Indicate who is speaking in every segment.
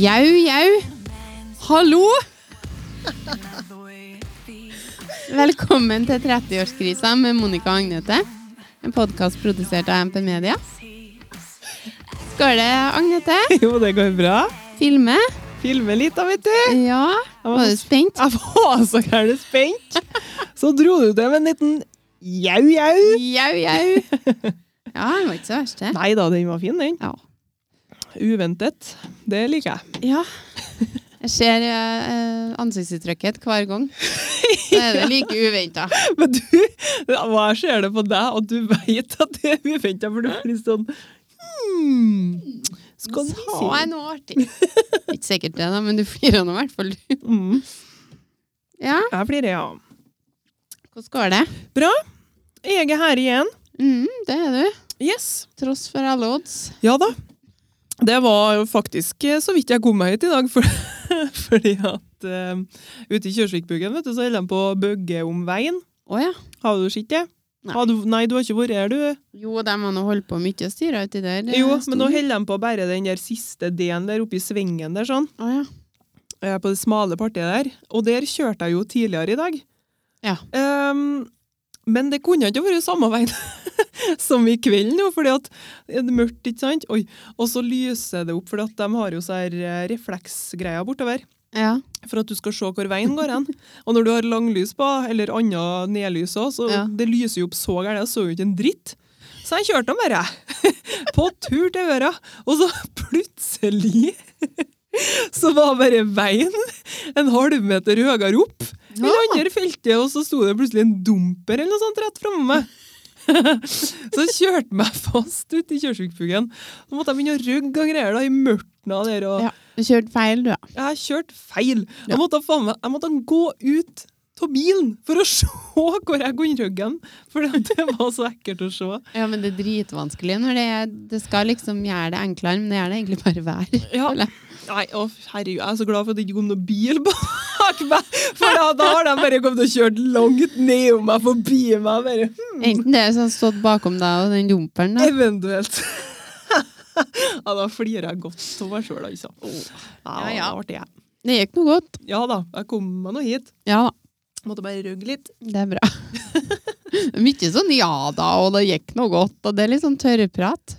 Speaker 1: Jau, jau. Hallo! Velkommen til 30-årskrisa med Monica og Agnete. En podkast produsert av MP Media. Skal det, Agnete?
Speaker 2: Jo, det går bra.
Speaker 1: Filme?
Speaker 2: Filme litt, da, vet du.
Speaker 1: Ja? Var du spent?
Speaker 2: Jeg var så gærent spent. Så dro du til med en liten jau-jau.
Speaker 1: Jau, jau. Ja, den var ikke så verst, det.
Speaker 2: Nei da, den var fin, den.
Speaker 1: Ja.
Speaker 2: Uventet. Det liker jeg.
Speaker 1: ja. Jeg ser eh, ansiktsuttrykket hver gang. Da er det like uventa.
Speaker 2: Men du, hva skjer det på deg at du veit at det er uventa, for du blir sånn hmm, Skal vi
Speaker 1: Sa
Speaker 2: se
Speaker 1: jeg noe artig? Ikke sikkert det, da, men du flirer nå i hvert fall. du.
Speaker 2: mm,
Speaker 1: Ja,
Speaker 2: Jeg blir det, ja.
Speaker 1: hvordan går det?
Speaker 2: Bra. Jeg er her igjen.
Speaker 1: Mm, det er du.
Speaker 2: Yes.
Speaker 1: Tross for alle odds.
Speaker 2: Ja da. Det var jo faktisk eh, så vidt jeg kom meg hit i dag, for, fordi at eh, ute i Kjørsvikbugen vet du, så holder de på å bygge om veien.
Speaker 1: Å ja.
Speaker 2: Har du sett det?
Speaker 1: Nei.
Speaker 2: Har du, nei, du har ikke vært her, du.
Speaker 1: Jo, de har nå holdt på mye å styre uti der. eh,
Speaker 2: Jo, men
Speaker 1: stund.
Speaker 2: nå holder de på å bære den der siste delen der oppe i svingen der, sånn.
Speaker 1: Å ja.
Speaker 2: eh, På det smale partiet der. Og der kjørte jeg jo tidligere i dag.
Speaker 1: Ja.
Speaker 2: Ehm, men det kunne ikke vært samme veien som i kveld nå, fordi at det er mørkt, ikke sant? Oi. Og så lyser det opp, for at de har jo så her eh, refleksgreier bortover,
Speaker 1: ja.
Speaker 2: for at du skal se hvor veien går hen. Og når du har langlys på, eller annet nedlys også, så
Speaker 1: Ja.
Speaker 2: det lyser jo opp så gærent, jeg så jo ikke en dritt. Så jeg kjørte nå bare, på tur til øra, og så plutselig så var bare veien en halvmeter høyere opp, i det
Speaker 1: Ja.
Speaker 2: andre feltet, og så sto det plutselig en dumper eller noe sånt rett framme meg. så kjørte meg fast ut i Kjørsvikbugen. Så måtte jeg begynne å rygge og greier da, i mørtna der. Og
Speaker 1: Ja. Du kjørte feil, du, ja.
Speaker 2: Jeg har kjørt feil.
Speaker 1: Ja.
Speaker 2: Jeg, måtte, faen meg, jeg måtte gå ut av bilen for å se hvor jeg kunne rygge den. For det var så ekkelt å se.
Speaker 1: Ja, men det er dritvanskelig når det er Det skal liksom gjøre det enklere, men det gjør det egentlig bare vær.
Speaker 2: Ja.
Speaker 1: Eller?
Speaker 2: Nei, å, herregud, jeg er så glad for at det ikke kom noen bil bak meg. For da, da har de bare kommet og kjørt langt nedom meg, forbi meg. Bare. hm,
Speaker 1: Enten det er sånn stått bakom deg og den dumperen, da.
Speaker 2: Eventuelt. ja, da flirer jeg godt av meg sjøl, altså. Ja,
Speaker 1: Ja, ja.
Speaker 2: det var artig, jeg.
Speaker 1: Det gikk nå godt.
Speaker 2: Ja da, jeg kom meg nå hit.
Speaker 1: Ja da.
Speaker 2: Måtte bare rugge litt.
Speaker 1: Det er bra. Mye sånn ja da, og det gikk nå godt, og det er litt sånn tørrprat.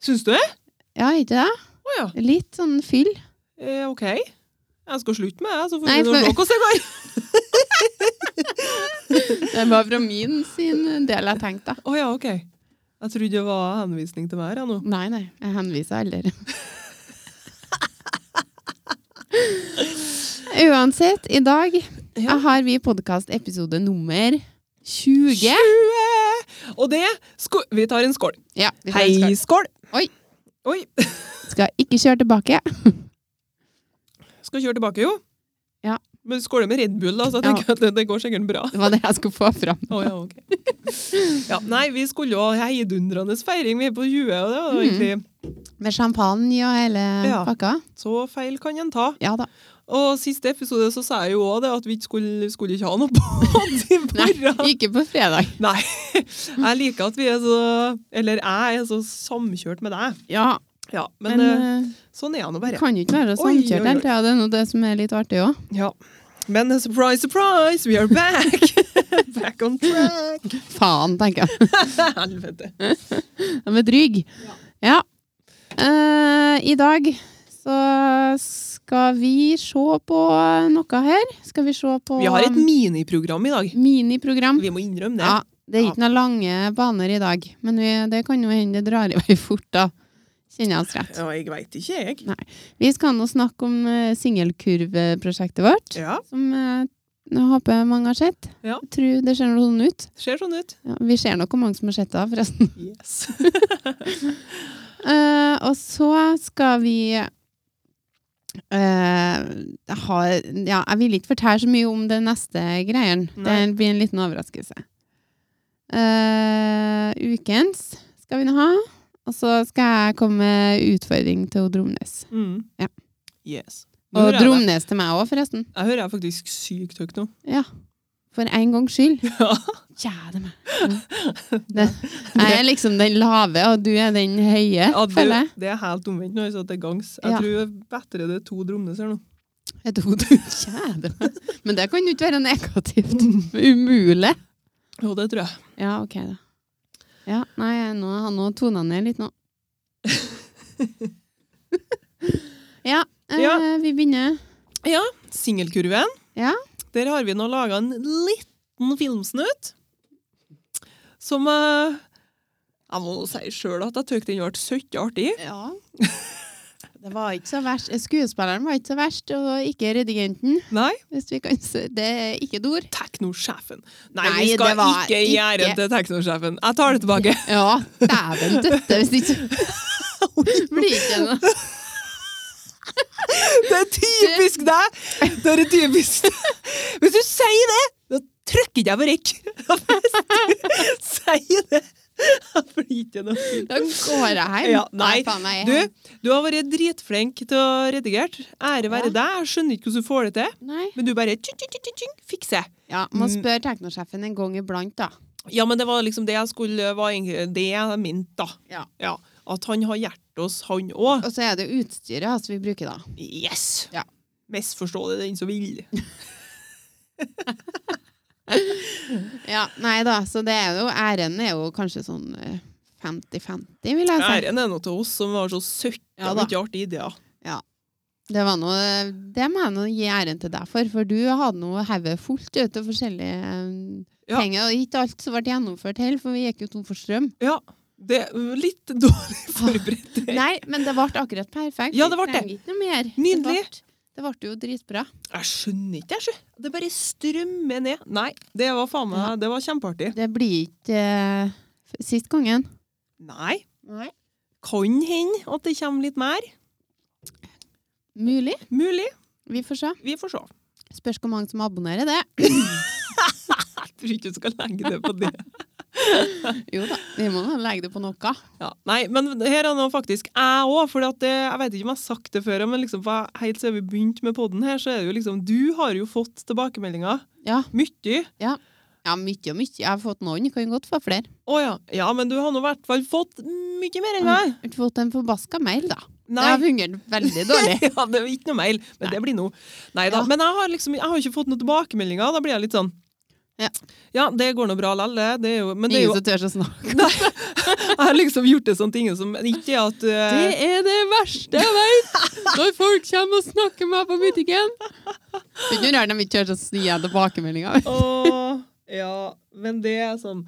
Speaker 2: Syns du det?
Speaker 1: Ja, ikke det?
Speaker 2: Å ja.
Speaker 1: Litt sånn fyll.
Speaker 2: Eh, OK. Jeg skal slutte med det, så får
Speaker 1: Nei,
Speaker 2: vi nå
Speaker 1: for-
Speaker 2: se hvordan det går.
Speaker 1: Det var fra min sin del jeg tenkte, da.
Speaker 2: Å ja, OK. Jeg trodde det var henvisning til meg her, jeg nå.
Speaker 1: Nei, nei, jeg henviser aldri. Uansett, i dag
Speaker 2: Ja.
Speaker 1: har vi podkast episode nummer 20.
Speaker 2: 20! Og det sko Vi tar en skål.
Speaker 1: Ja, vi tar en
Speaker 2: Hei,
Speaker 1: skål.
Speaker 2: skål!
Speaker 1: Oi.
Speaker 2: Oi.
Speaker 1: Skal ikke kjøre tilbake.
Speaker 2: Skal kjøre tilbake, jo.
Speaker 1: Ja.
Speaker 2: Men skåler med Red Bull, da, så jeg
Speaker 1: Ja.
Speaker 2: tenker at det, det går sikkert bra.
Speaker 1: Det var det jeg skulle få fram.
Speaker 2: Å ja, ok. Ja, nei, vi skulle jo ha heidundrende feiring, vi er på 20, og det var
Speaker 1: Mhm.
Speaker 2: egentlig
Speaker 1: Med champagne og hele
Speaker 2: Ja.
Speaker 1: pakka.
Speaker 2: så feil kan en ta.
Speaker 1: Ja da.
Speaker 2: Og siste episode så sa jeg jo òg det, at vi ikke skulle, skulle ikke ha noe pod i
Speaker 1: Nei,
Speaker 2: morgen.
Speaker 1: ikke på fredag.
Speaker 2: Nei. Jeg liker at vi er så Eller jeg er så samkjørt med deg.
Speaker 1: Ja,
Speaker 2: Ja, men,
Speaker 1: men,
Speaker 2: eh, sånn er jeg
Speaker 1: det
Speaker 2: nå bare.
Speaker 1: kan jo ikke være
Speaker 2: Oi, oi,
Speaker 1: samkjørt
Speaker 2: oi.
Speaker 1: hele tida. Det er nå det som er litt artig òg.
Speaker 2: Ja. Men eh, surprise, surprise, we are back! back on track!
Speaker 1: Faen, tenker jeg.
Speaker 2: Helvete.
Speaker 1: De er dryg. Ja. Eh, I dag så skal vi se på noe her. Skal vi se på
Speaker 2: Vi har et miniprogram i dag.
Speaker 1: miniprogram.
Speaker 2: Vi må innrømme det.
Speaker 1: Ja, det er ikke noen lange baner i dag, men vi, det kan jo hende det drar i vei fort, da. Kjenner jeg oss rett.
Speaker 2: Ja, jeg veit ikke, jeg.
Speaker 1: Vi skal nå snakke om eh, singelkurveprosjektet vårt,
Speaker 2: Ja,
Speaker 1: som eh, jeg håper mange har sett.
Speaker 2: Ja.
Speaker 1: Jeg Tror det ser noe sånn ut.
Speaker 2: ser sånn ut.
Speaker 1: Ja, vi ser nok hvor mange som har sett det, forresten.
Speaker 2: Yes.
Speaker 1: Eh, og så skal vi eh, ha Ja, jeg vil ikke fortelle så mye om den neste greien. Det
Speaker 2: Nei.
Speaker 1: blir en liten overraskelse. Eh, ukens skal vi nå ha. Og så skal jeg komme med utfordring til Dromnes.
Speaker 2: Mm.
Speaker 1: Ja.
Speaker 2: Yes. Nå
Speaker 1: Og
Speaker 2: hører jeg, deg.
Speaker 1: Dromnes til meg òg, forresten.
Speaker 2: jeg hører jeg faktisk sykt høyt nå.
Speaker 1: Ja. For en gangs skyld.
Speaker 2: Ja.
Speaker 1: Kjære meg. Ja. Det, jeg er liksom den lave, og du er den høye,
Speaker 2: Ja, det,
Speaker 1: føler jeg.
Speaker 2: det er helt omvendt nå. Så til gangs. Jeg
Speaker 1: Ja.
Speaker 2: tror det er bedre det er to dromnesser nå.
Speaker 1: Et hode. Kjære meg. Men det kan jo ikke være negativt. Umulig.
Speaker 2: Jo, det tror jeg.
Speaker 1: Ja, ok da. Ja, nei, nå, nå tonet han ned litt nå. ja, eh,
Speaker 2: Ja.
Speaker 1: vi begynner.
Speaker 2: Ja, Singelkurven.
Speaker 1: Ja.
Speaker 2: Der har vi nå laga en liten filmsnutt som eh, Jeg må si sjøl at jeg syns den ble søtt artig.
Speaker 1: Ja. Det var ikke så verst. Skuespilleren var ikke så verst, og ikke redigenten.
Speaker 2: Nei,
Speaker 1: Hvis vi kan se. Det er ikke et ord.
Speaker 2: teknosjefen. Nei,
Speaker 1: Nei,
Speaker 2: vi
Speaker 1: det
Speaker 2: skal
Speaker 1: var
Speaker 2: ikke gjøre
Speaker 1: ikke-
Speaker 2: til teknosjefen. Jeg tar det tilbake.
Speaker 1: Ja, dæven døtte hvis ikke blir ikke noe.
Speaker 2: Det er typisk deg! Det er typisk Hvis du sier det, da trykker ikke jeg på rekk. Hvis du sier det, da blir ikke noe fint.
Speaker 1: Da går jeg hjem.
Speaker 2: Ja, nei,
Speaker 1: faen, jeg er
Speaker 2: Du,
Speaker 1: hjem.
Speaker 2: du har vært dritflink til å redigere. Ære være
Speaker 1: Ja.
Speaker 2: deg. Jeg skjønner ikke hvordan du får det til,
Speaker 1: Nei.
Speaker 2: men du bare tjing, tjing, tjing, tjing, tjing, fikser.
Speaker 1: Ja, man spør teknosjefen en gang iblant, da.
Speaker 2: Ja, men det var liksom det jeg skulle var egentlig det jeg mente, da.
Speaker 1: Ja.
Speaker 2: At han har hjerte hos han òg.
Speaker 1: Og så er det utstyret altså, vi bruker, da.
Speaker 2: Yes!
Speaker 1: Ja.
Speaker 2: Misforstå det den som vil.
Speaker 1: Ja, nei da, så det er jo Æren er jo kanskje sånn eh, 50-50, vil jeg si.
Speaker 2: Æren er noe til oss som var så søkka
Speaker 1: Ja
Speaker 2: ja,
Speaker 1: da.
Speaker 2: mye artige ideer.
Speaker 1: Det, var noe, det må jeg nå gi æren til deg for, for du hadde nå hodet fullt ut av forskjellige eh,
Speaker 2: Ja.
Speaker 1: penger. Og ikke alt som ble gjennomført heller, for vi gikk jo tom for strøm.
Speaker 2: Ja, det er litt dårlig forberedt.
Speaker 1: Nei, men det ble akkurat perfekt.
Speaker 2: Ja, det ble
Speaker 1: Vi trenger Ikke noe mer.
Speaker 2: Nydelig.
Speaker 1: Det ble, det ble jo dritbra.
Speaker 2: Jeg skjønner ikke, jeg. sjø. Det bare strømmer ned. Nei, det var faen meg
Speaker 1: Ja.
Speaker 2: Det var kjempeartig.
Speaker 1: Det blir ikke eh, f- sist gangen.
Speaker 2: Nei.
Speaker 1: Nei.
Speaker 2: Kan hende at det kommer litt mer.
Speaker 1: Mulig.
Speaker 2: Mulig.
Speaker 1: Vi får se.
Speaker 2: Vi får se.
Speaker 1: Spørs hvor mange som abonnerer det.
Speaker 2: Jeg tror ikke du skal legge det på det.
Speaker 1: Jo da, vi må nå legge det på noe.
Speaker 2: Ja. Nei, men her er nå faktisk jeg òg, for at det, jeg vet ikke om jeg har sagt det før, men liksom, for jeg- helt siden vi begynte med podden her, så er det jo liksom Du har jo fått tilbakemeldinger.
Speaker 1: Ja.
Speaker 2: Mye.
Speaker 1: Ja, mye og mye. Jeg har fått noen, kan godt få flere.
Speaker 2: Å ja. Ja, men du har nå i hvert fall fått mye mer enn meg.
Speaker 1: Jeg har fått en forbaska mail, da. Det har
Speaker 2: Nei.
Speaker 1: fungert veldig dårlig.
Speaker 2: ja, det er ikke noe mail, men
Speaker 1: Nei.
Speaker 2: det blir noe. Nei da.
Speaker 1: Ja.
Speaker 2: Men jeg har liksom jeg har ikke fått noen tilbakemeldinger. Da blir jeg litt sånn
Speaker 1: Ja.
Speaker 2: Ja, det går nå bra likevel, det. det. er jo- Men det er
Speaker 1: Ingen
Speaker 2: jo,
Speaker 1: som tør å snakke.
Speaker 2: Nei, jeg har liksom gjort det sånn ting som ikke er at eh,
Speaker 1: er det verste jeg vet! Når folk kommer og snakker med meg på butikken. Det er rart de ikke tør å gi deg tilbakemeldinger.
Speaker 2: Åh, ja, men det er sånn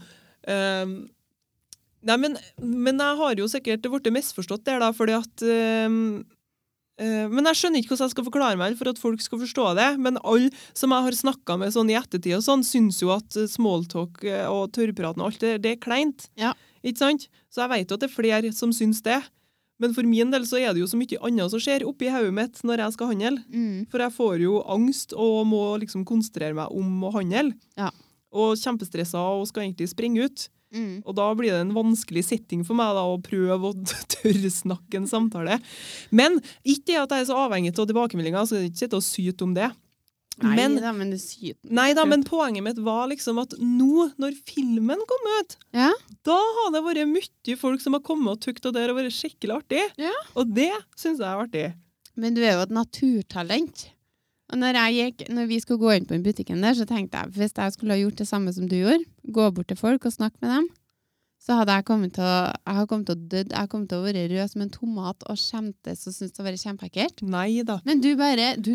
Speaker 2: ehm, Nei, men, men jeg har jo sikkert blitt misforstått der, da, fordi at ehm, eh, Men jeg skjønner ikke hvordan jeg skal forklare meg for at folk skal forstå det. Men alle som jeg har snakka med sånn i ettertid, og sånn, syns jo at eh, smalltalk eh, og tørrpraten og alt det, det er kleint.
Speaker 1: Ja.
Speaker 2: Ikke sant? Så jeg vet jo at det er flere som syns det. Men for min del så er det jo så mye annet som skjer oppi hodet mitt når jeg skal handle.
Speaker 1: Mm.
Speaker 2: For jeg får jo angst og må liksom konsentrere meg om å handle.
Speaker 1: Ja.
Speaker 2: Og kjempestressa og skal egentlig springe ut.
Speaker 1: Mm.
Speaker 2: Og da blir det en vanskelig setting for meg da, å prøve å tørrsnakke en samtale. Men ikke det at jeg er så avhengig av tilbakemeldinger, så jeg ikke sitte og syte om det.
Speaker 1: Nei
Speaker 2: Men-
Speaker 1: da, men det syter.
Speaker 2: Nei da, men poenget mitt var liksom at nå, når filmen kom ut,
Speaker 1: Ja.
Speaker 2: da har det vært mye folk som har kommet og tykt og der og vært skikkelig artig.
Speaker 1: Ja.
Speaker 2: Og det syns jeg er artig.
Speaker 1: Men du er jo et naturtalent. Og når, jeg gikk, når vi skulle gå inn på den butikken der, så tenkte jeg hvis jeg skulle ha gjort det samme som du gjorde, gå bort til folk og snakke med dem, så hadde jeg kommet til å, jeg hadde kommet til å dødd, jeg hadde kommet til å være rød som en tomat og skjemtes og syntes det var kjempeekkelt.
Speaker 2: Nei da.
Speaker 1: Men du bare du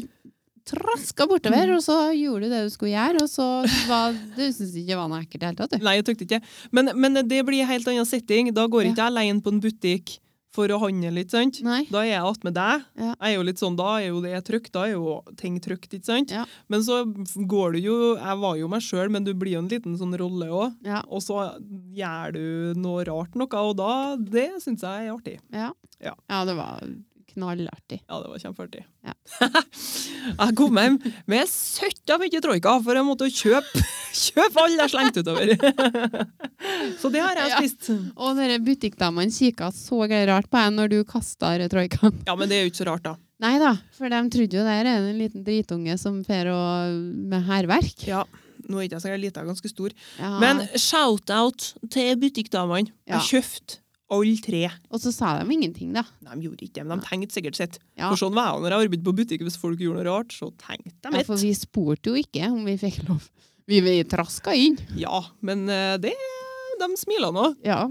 Speaker 1: traska bortover, og så gjorde du det du skulle gjøre, og så var du syntes ikke det var noe ekkelt i det hele tatt, du.
Speaker 2: Nei, jeg tykte ikke. Men, men det blir en helt annen setting. Da går
Speaker 1: Ja.
Speaker 2: ikke jeg alene på en butikk for å handle, ikke sant?
Speaker 1: Nei.
Speaker 2: Da er jeg att med deg.
Speaker 1: Ja.
Speaker 2: Jeg er jo litt sånn, da er jo det trygt, da er jo ting trygt, ikke sant?
Speaker 1: Ja.
Speaker 2: Men så går du jo, jeg var jo meg sjøl, men du blir jo en liten sånn rolle òg.
Speaker 1: Ja.
Speaker 2: Og så gjør du noe rart noe, og da, det syns jeg er artig.
Speaker 1: Ja.
Speaker 2: Ja.
Speaker 1: ja, det var knallartig.
Speaker 2: Ja, det var kjempeartig.
Speaker 1: Ja.
Speaker 2: jeg kom hjem med søtta mye troika, for jeg måtte kjøpe, kjøpe alle jeg slengte utover. så det har jeg
Speaker 1: Ja.
Speaker 2: spist.
Speaker 1: Og dere butikkdamene kikka så rart på deg når du kasta troikaen.
Speaker 2: Ja, men det er jo ikke så rart, da.
Speaker 1: Nei da, for de trodde jo der er en liten dritunge som fer og med hærverk.
Speaker 2: Ja. Nå er ikke jeg så lita, jeg er ganske stor.
Speaker 1: Ja.
Speaker 2: Men shout-out til butikkdamene.
Speaker 1: Ja.
Speaker 2: Jeg kjøpte alle tre.
Speaker 1: og så sa de ingenting, da.
Speaker 2: Nei, De gjorde ikke det, men de tenkte sikkert sitt.
Speaker 1: Ja.
Speaker 2: For sånn var jeg når jeg arbeidet på butikk. Hvis folk gjorde noe rart, så tenkte
Speaker 1: Ja,
Speaker 2: de
Speaker 1: for
Speaker 2: mitt.
Speaker 1: vi spurte jo ikke om vi fikk lov. Vi, vi traska inn.
Speaker 2: Ja, men eh, det, de smiler nå.
Speaker 1: Ja.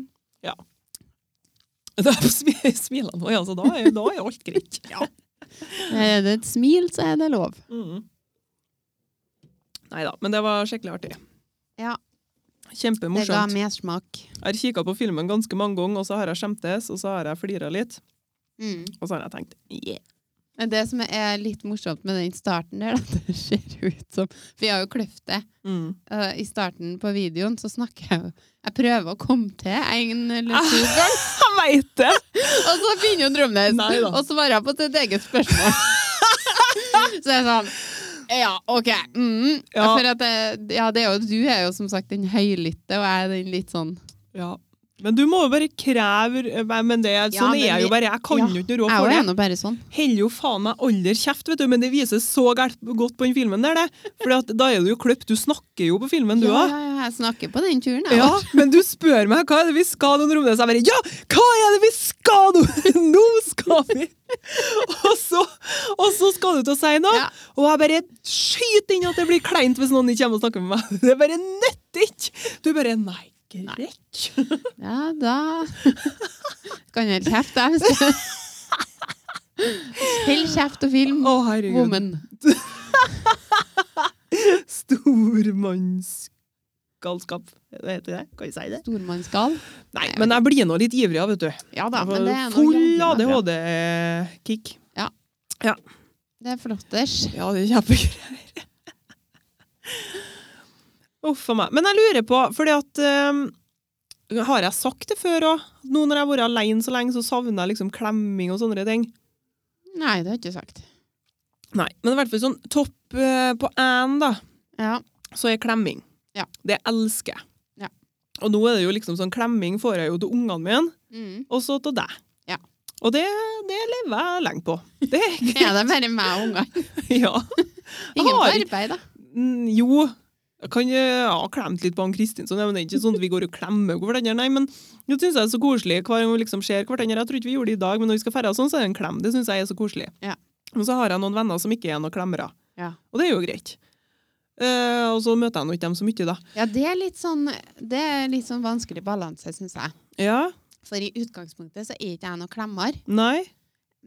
Speaker 2: De smi- smiler nå, ja, så da er, da er alt greit. Ja.
Speaker 1: Er Eh, det et smil, så er det lov.
Speaker 2: Mm. Nei da, men det var skikkelig artig.
Speaker 1: Ja. Det ga
Speaker 2: Kjempemorsomt.
Speaker 1: mersmak.
Speaker 2: Jeg har kikka på filmen ganske mange ganger, og så har jeg skjemtes, og så har jeg flira litt.
Speaker 1: Mm.
Speaker 2: Og så har jeg tenkt yeah.
Speaker 1: Men det som er litt morsomt med den starten der, da, det ser ut som For jeg har jo kløft det.
Speaker 2: Mm.
Speaker 1: Eh, I starten på videoen så snakker jeg jo Jeg prøver å komme til en eller to ganger,
Speaker 2: Jeg veit det!
Speaker 1: og så begynner jo
Speaker 2: Nei
Speaker 1: Drømnes
Speaker 2: da.
Speaker 1: å svare på sitt eget spørsmål. så jeg er sånn Ja, OK. Mm.
Speaker 2: Ja.
Speaker 1: For at det, ja, det er jo, du er jo som sagt den høylytte, og jeg er den litt sånn
Speaker 2: Ja. Men du må jo bare kreve Nei, Men det, sånn
Speaker 1: men
Speaker 2: er jeg
Speaker 1: vi-
Speaker 2: jo bare. Jeg kan
Speaker 1: Ja.
Speaker 2: jo ikke noe råd
Speaker 1: Jeg
Speaker 2: for
Speaker 1: òg
Speaker 2: det.
Speaker 1: er nå bare sånn.
Speaker 2: holder jo faen meg aldri kjeft, vet du, men det vises så galt, godt på den filmen der, det. For at da er du jo kløpt, du snakker jo på filmen, du
Speaker 1: ja,
Speaker 2: òg.
Speaker 1: ja, ja, jeg snakker på den turen,
Speaker 2: Ja,
Speaker 1: jeg òg.
Speaker 2: men du spør meg hva er det vi skal nå, Romnes? Jeg bare ja, hva er det vi skal nå? Nå skal vi! Og så, og så skal du til å si noe,
Speaker 1: Ja.
Speaker 2: og jeg bare skyter inn at det blir kleint hvis noen ikke kommer og snakker med meg. Det er bare nødt ikke! Du bare nei, greit.
Speaker 1: Ja, da Kan jeg holde kjeft, jeg. hvis jeg- Hold kjeft og film.
Speaker 2: Å, herregud.
Speaker 1: Woman.
Speaker 2: Stormannsgalskap. Hva heter det? Kan vi si det?
Speaker 1: Stormannsgal.
Speaker 2: Nei,
Speaker 1: Nei,
Speaker 2: men jeg blir nå litt ivrig, ja, vet du.
Speaker 1: Ja da, men det er noe
Speaker 2: Full
Speaker 1: jævlig bra.
Speaker 2: ADHD-kick.
Speaker 1: Det er flotters.
Speaker 2: Ja, det er kjempegreier. Uff a meg. Men jeg lurer på, fordi at eh, Har jeg sagt det før òg? Nå når jeg har vært alene så lenge, så savner jeg liksom klemming og sånne ting.
Speaker 1: Nei, det har jeg ikke sagt.
Speaker 2: Nei, men i hvert fall sånn topp eh, på én, da,
Speaker 1: Ja.
Speaker 2: så er klemming.
Speaker 1: Ja.
Speaker 2: Det elsker jeg.
Speaker 1: Ja.
Speaker 2: Og nå er det jo liksom sånn klemming får jeg jo til ungene mine.
Speaker 1: Mm.
Speaker 2: og så til deg.
Speaker 1: Ja.
Speaker 2: Og det, det lever jeg lenge på. Det er greit.
Speaker 1: Er det bare meg og ungene?
Speaker 2: Ja.
Speaker 1: Ingen på
Speaker 2: Har-
Speaker 1: arbeid, da.
Speaker 2: Mm, Jo, jeg kan eh, ja, ha klemt litt på han Kristinsson, men det er ikke sånn at vi går og klemmer på hverandre, nei, men det synes jeg er så koselig hver gang vi liksom ser hverandre. Jeg tror ikke vi gjorde det i dag, men når vi skal ferde og sånn, så er det en klem. Det synes jeg er så koselig.
Speaker 1: Ja.
Speaker 2: Men så har jeg noen venner som ikke er noen klemmere,
Speaker 1: Ja.
Speaker 2: og det er jo greit. Eh, og så møter jeg nå ikke dem så mye, da.
Speaker 1: Ja, det er litt sånn, det er litt sånn vanskelig balanse, syns jeg.
Speaker 2: Ja?
Speaker 1: For i utgangspunktet så er ikke jeg noe klemmer.
Speaker 2: Nei?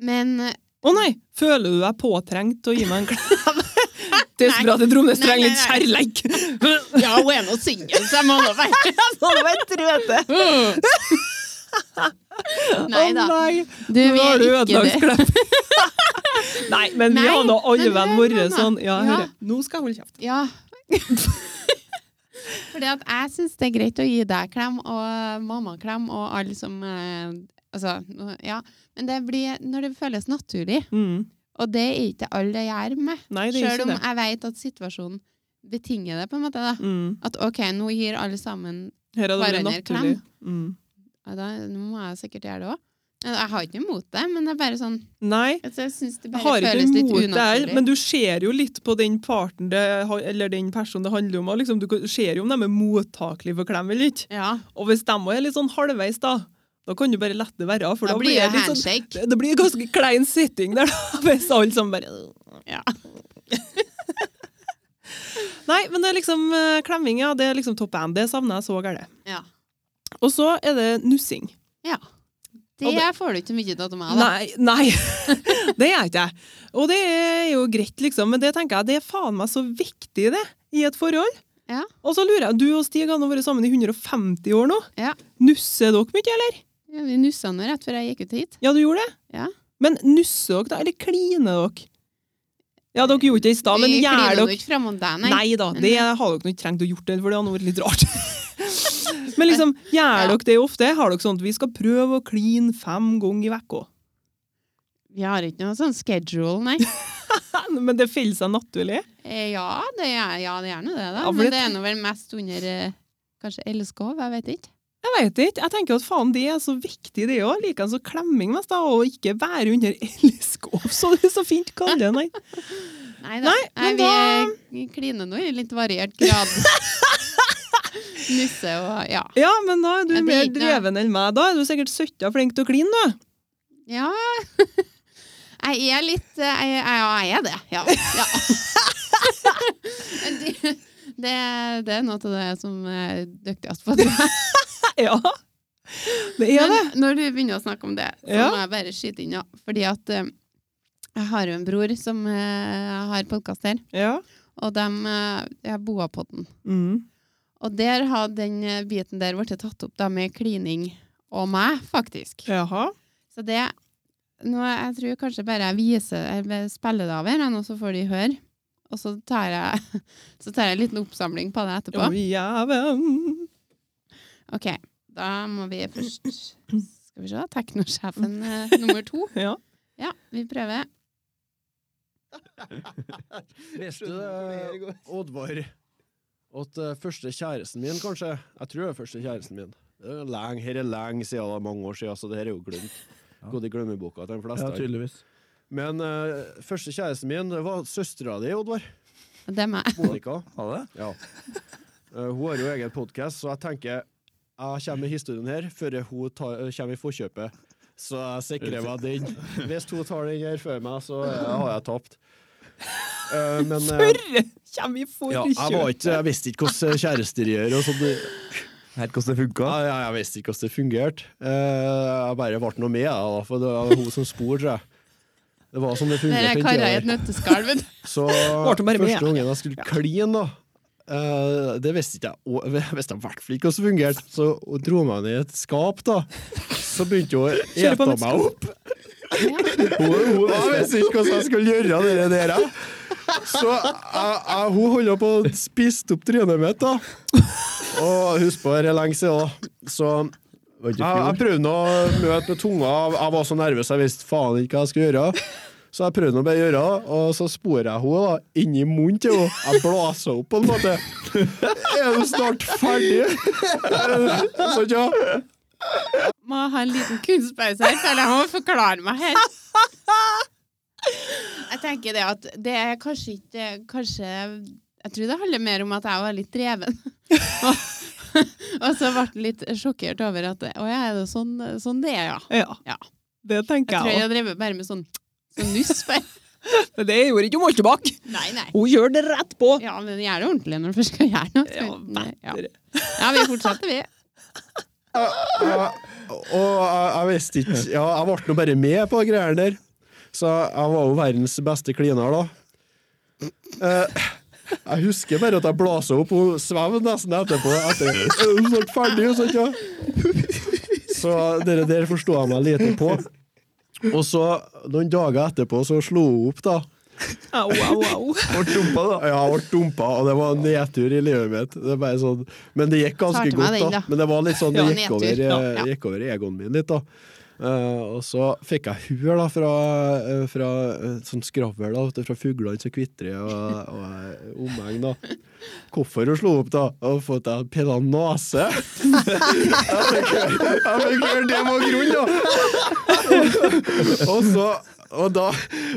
Speaker 1: Men eh,
Speaker 2: Å nei! Føler du deg påtrengt til å gi meg en klem? Det er
Speaker 1: Nei.
Speaker 2: så bra at Dromnes
Speaker 1: Nei,
Speaker 2: trenger
Speaker 1: nei,
Speaker 2: litt kjærleik.
Speaker 1: Ja, hun er nå singel, så jeg må nå være Nei da.
Speaker 2: Å nei,
Speaker 1: Du,
Speaker 2: nå
Speaker 1: vi
Speaker 2: har
Speaker 1: er
Speaker 2: du
Speaker 1: ikke
Speaker 2: ødelagt
Speaker 1: det.
Speaker 2: sklep. nei, men vi
Speaker 1: Nei,
Speaker 2: har nå alle
Speaker 1: men hør
Speaker 2: venn våre
Speaker 1: nå, da.
Speaker 2: sånn. Ja,
Speaker 1: Ja.
Speaker 2: hør det. Nå skal jeg holde kjeft.
Speaker 1: Ja. Fordi at jeg syns det er greit å gi deg klem og mamma klem og alle som eh, Altså, nå- ja. Men det blir når det føles naturlig.
Speaker 2: Mm.
Speaker 1: Og det er ikke alle det gjør med.
Speaker 2: Nei, det er
Speaker 1: Sjøl
Speaker 2: ikke
Speaker 1: om
Speaker 2: det.
Speaker 1: jeg vet at situasjonen betinger det, på en måte. da.
Speaker 2: Mm.
Speaker 1: At OK, nå gir alle sammen
Speaker 2: Her hadde det vært
Speaker 1: Hverandre
Speaker 2: naturlig.
Speaker 1: klem.
Speaker 2: Mm.
Speaker 1: ja, da, Nå må jeg sikkert gjøre det òg. Jeg har ikke noe imot det, men det er bare sånn
Speaker 2: Nei,
Speaker 1: altså, Jeg syns det
Speaker 2: jeg
Speaker 1: bare
Speaker 2: har ikke
Speaker 1: føles litt
Speaker 2: imot det her,
Speaker 1: unaturlig.
Speaker 2: men du ser jo litt på den parten det, ha- eller den personen det handler om. og Liksom, du kan- ser jo om de er mottakelige for klem eller ikke.
Speaker 1: Ja,
Speaker 2: Og hvis de også er litt sånn halvveis, da, da kan du bare lette det være. For
Speaker 1: da
Speaker 2: da,
Speaker 1: blir det
Speaker 2: det litt sånn
Speaker 1: handshake.
Speaker 2: Det blir en ganske klein sitting der, da, hvis alle sammen bare
Speaker 1: Ja.
Speaker 2: Nei, men det er liksom eh, klemming, ja. Det er liksom topp én. Det savner jeg så gærent.
Speaker 1: Ja.
Speaker 2: Og så er det nussing. Og
Speaker 1: Det får du ikke så mye til av meg, da.
Speaker 2: Nei, nei. det gjør ikke jeg. Og det er jo greit, liksom, men det tenker jeg, det er faen meg så viktig, det, i et forhold.
Speaker 1: Ja.
Speaker 2: Og så lurer jeg, du og Stig har nå vært sammen i 150 år nå.
Speaker 1: Ja.
Speaker 2: Nusser dere mye, eller?
Speaker 1: Ja, vi nussa nå rett før jeg gikk ut hit.
Speaker 2: Ja, du gjorde det?
Speaker 1: Ja.
Speaker 2: Men nusser dere da, eller kliner dere? Ja, dere gjorde ikke det i stad, men
Speaker 1: vi
Speaker 2: gjør
Speaker 1: kliner
Speaker 2: dere
Speaker 1: nå ikke fram om deg,
Speaker 2: Nei.
Speaker 1: nei. Mm-hmm.
Speaker 2: da, det har dere nå ikke trengt å gjort det, for det hadde nå vært litt rart. Men liksom, gjør dere det ofte? Har dere sånn at vi skal prøve å kline fem ganger i vekka?
Speaker 1: Vi har ikke noe sånn schedule, nei.
Speaker 2: Men det faller seg naturlig.
Speaker 1: Eh, Ja, det er, ja, det er nå det, da.
Speaker 2: Ja, for
Speaker 1: Men
Speaker 2: det-
Speaker 1: det er nå vel mest under eh, kanskje elskov, jeg vet ikke.
Speaker 2: Jeg vet ikke. Jeg tenker at faen, det er så viktig det òg. Likeens så klemming mest, da, og ikke være under elskov, så det er så fint kaller det. Nei.
Speaker 1: Nei da.
Speaker 2: Nei, men
Speaker 1: vi er- kliner nå i litt variert grad. Nusse og ja.
Speaker 2: Ja, men da er du
Speaker 1: Ja, det
Speaker 2: mer
Speaker 1: gikk, ja.
Speaker 2: dreven enn meg. Da er du sikkert søtta flink til å kline, da.
Speaker 1: Ja. Jeg er litt eh, jeg, jeg, Ja, jeg er det. Ja. ja. Men det, det, det er noe av det som er dyktigst på. tror jeg.
Speaker 2: Ja. Det er det.
Speaker 1: Men når du begynner å snakke om det, så
Speaker 2: Ja.
Speaker 1: må jeg bare skyte inn, ja. Fordi at eh, jeg har jo en bror som eh, har podkast her,
Speaker 2: Ja.
Speaker 1: og de eh, Jeg boa på den.
Speaker 2: Mm.
Speaker 1: Og der har den eh, biten der blitt tatt opp da med klining og meg, faktisk.
Speaker 2: Jaha.
Speaker 1: Så det nå, Jeg tror kanskje bare jeg viser jeg bare spiller det av her, og så får de høre. Og så tar jeg, så tar jeg en liten oppsamling på det etterpå.
Speaker 2: Å, jæven.
Speaker 1: Ok, da må vi først Skal vi se. Teknosjefen eh, nummer to.
Speaker 2: Ja.
Speaker 1: Ja, vi prøver.
Speaker 3: Leste du eh, Oddvar at eh, første kjæresten min, kanskje Jeg tror det er første kjæresten min. Det er lenge, her er lenge siden, det er mange år siden, så det her er jo glemt. Gått i glemmeboka til de
Speaker 4: Ja,
Speaker 3: fleste.
Speaker 4: tydeligvis.
Speaker 3: Men eh, første kjæresten min det var søstera di, Oddvar.
Speaker 1: Det er meg.
Speaker 3: Monica.
Speaker 4: Ha det?
Speaker 3: Ja. Eh, hun har jo egen podkast, så jeg tenker jeg kommer med historien her før hun tar, eh, kommer i forkjøpet. Så jeg sikrer meg den. Hvis hun tar den her før meg, så eh, har jeg tapt. Eh, men eh,
Speaker 2: Hørre! Kjem i
Speaker 3: ja, jeg, var
Speaker 2: forkjøret.
Speaker 3: ikke, jeg visste ikke hvordan kjæresterier og sånt.
Speaker 4: Helt hvordan det funka?
Speaker 3: Jeg, jeg, jeg visste ikke hvordan det fungerte. Eh, jeg bare ble noe med, jeg, da, for det var hun som spor, tror jeg. Det var som det
Speaker 1: Det
Speaker 3: fungerte.
Speaker 1: er
Speaker 3: den
Speaker 1: karer i
Speaker 3: tiden
Speaker 1: et
Speaker 3: der.
Speaker 1: nøtteskall. vet du.
Speaker 3: Så
Speaker 2: Ble hun bare med,
Speaker 3: første gangen jeg skulle kline, da eh, det visste ikke jeg og jeg visste i hvert fall ikke hvordan det fungerte. Så hun dro meg ned i et skap, da. Så begynte hun å
Speaker 2: Kjøre på
Speaker 3: ete
Speaker 2: med et
Speaker 3: meg opp. Hun, hun visste ikke hvordan jeg skulle gjøre det der. jeg. Så jeg, jeg, hun holdt på å spise opp trynet mitt, da. Og husk på, det er lenge siden, da. Så
Speaker 4: Var
Speaker 3: jeg,
Speaker 4: ikke
Speaker 3: jeg
Speaker 4: fjor?
Speaker 3: prøvde nå å møte med tunga. Jeg var så nervøs, jeg visste faen ikke hva jeg skulle gjøre. Så jeg prøvde nå bare å gjøre det, og så sporer jeg henne da, inni munnen til henne. Jeg blåser opp på en måte. Er du snart ferdig? Så ja.
Speaker 1: Må ha en liten kunstpause her, for jeg må forklare meg her. Jeg tenker det at det er kanskje ikke Kanskje Jeg tror det handler mer om at jeg var litt dreven. Og, og så ble jeg litt sjokkert over at Å ja, er det sånn, sånn det er, ja.
Speaker 2: Ja.
Speaker 1: Ja.
Speaker 2: Det
Speaker 1: Jeg
Speaker 2: tenker
Speaker 1: tror
Speaker 2: jeg
Speaker 1: jeg drev bare med sånn, sånn nuss. bare.
Speaker 2: òg. Det gjorde ikke Moltebakk.
Speaker 1: Nei, nei.
Speaker 2: Hun gjør det rett på.
Speaker 1: Ja, men gjør det ordentlig når du først skal gjøre noe. eh,
Speaker 2: Ja,
Speaker 1: ja.
Speaker 2: bedre.
Speaker 1: ja vi fortsetter, vi.
Speaker 3: Jeg- Og jeg, jeg visste ikke ja, Jeg ble nå bare med på greiene der. Så jeg var jo verdens beste kliner, da. Eh, Jeg husker bare at jeg blåser opp og svevde nesten etterpå. Etter, er du snart ferdig, og sånt, ja. Så det der forsto jeg meg lite på. Og så, noen dager etterpå, så slo hun opp, da.
Speaker 2: Au, au, au.
Speaker 3: Ble dumpa, da? Ja, ble dumpa, og det var en nedtur i livet mitt. Det er bare sånn, men det gikk ganske
Speaker 1: Klarte meg den,
Speaker 3: godt, da.
Speaker 1: da.
Speaker 3: Men det var litt sånn, det
Speaker 1: Ja,
Speaker 3: gikk,
Speaker 1: nedtur.
Speaker 3: over,
Speaker 1: Ja, ja.
Speaker 3: eh, gikk over egoen min litt, da. Eh, og så fikk jeg huer da, fra, eh, fra eh, sånn skravl da, vet du, fra fuglene som kvitrer og, og eh, omegn. da. Hvorfor hun slo opp, da? Og for at jeg pilla nese! jeg fikk høre- jeg fikk høre det var grunnen, da! Og så og da,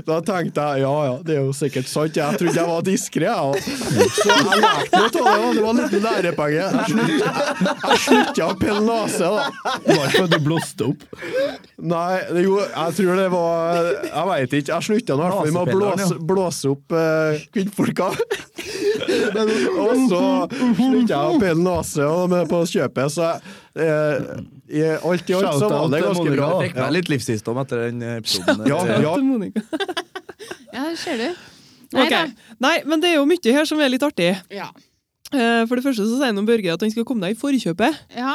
Speaker 3: da tenkte jeg ja ja, det er jo sikkert sant. Jeg trodde jeg var diskré. Så jeg lærte meg av det. Det var en liten lærepenge. Jeg slutta- Jeg slutta å pille nese, da.
Speaker 4: Det var ikke fordi du blåste opp.
Speaker 3: Nei, det, jo, jeg tror det var Jeg veit ikke. Jeg slutta nå i hvert fall med å
Speaker 4: Nasepilleren,
Speaker 3: blåse, blåse opp eh, kvinnfolka. Men, og så slutta jeg å pille nese og med på kjøpet, så jeg, eh, i alt i alt så var det ganske bra.
Speaker 4: Jeg fikk
Speaker 3: Ja.
Speaker 4: meg litt livsvisdom etter den episoden.
Speaker 3: Ja,
Speaker 4: etter-
Speaker 3: ja.
Speaker 2: Til Monica.
Speaker 1: Ja, det ser du. Nei
Speaker 2: Ok.
Speaker 1: da.
Speaker 2: Nei, men det er jo mye her som er litt artig.
Speaker 1: Ja.
Speaker 2: Eh, For det første så sier noen Børge at han skal komme deg i forkjøpet.
Speaker 1: ja.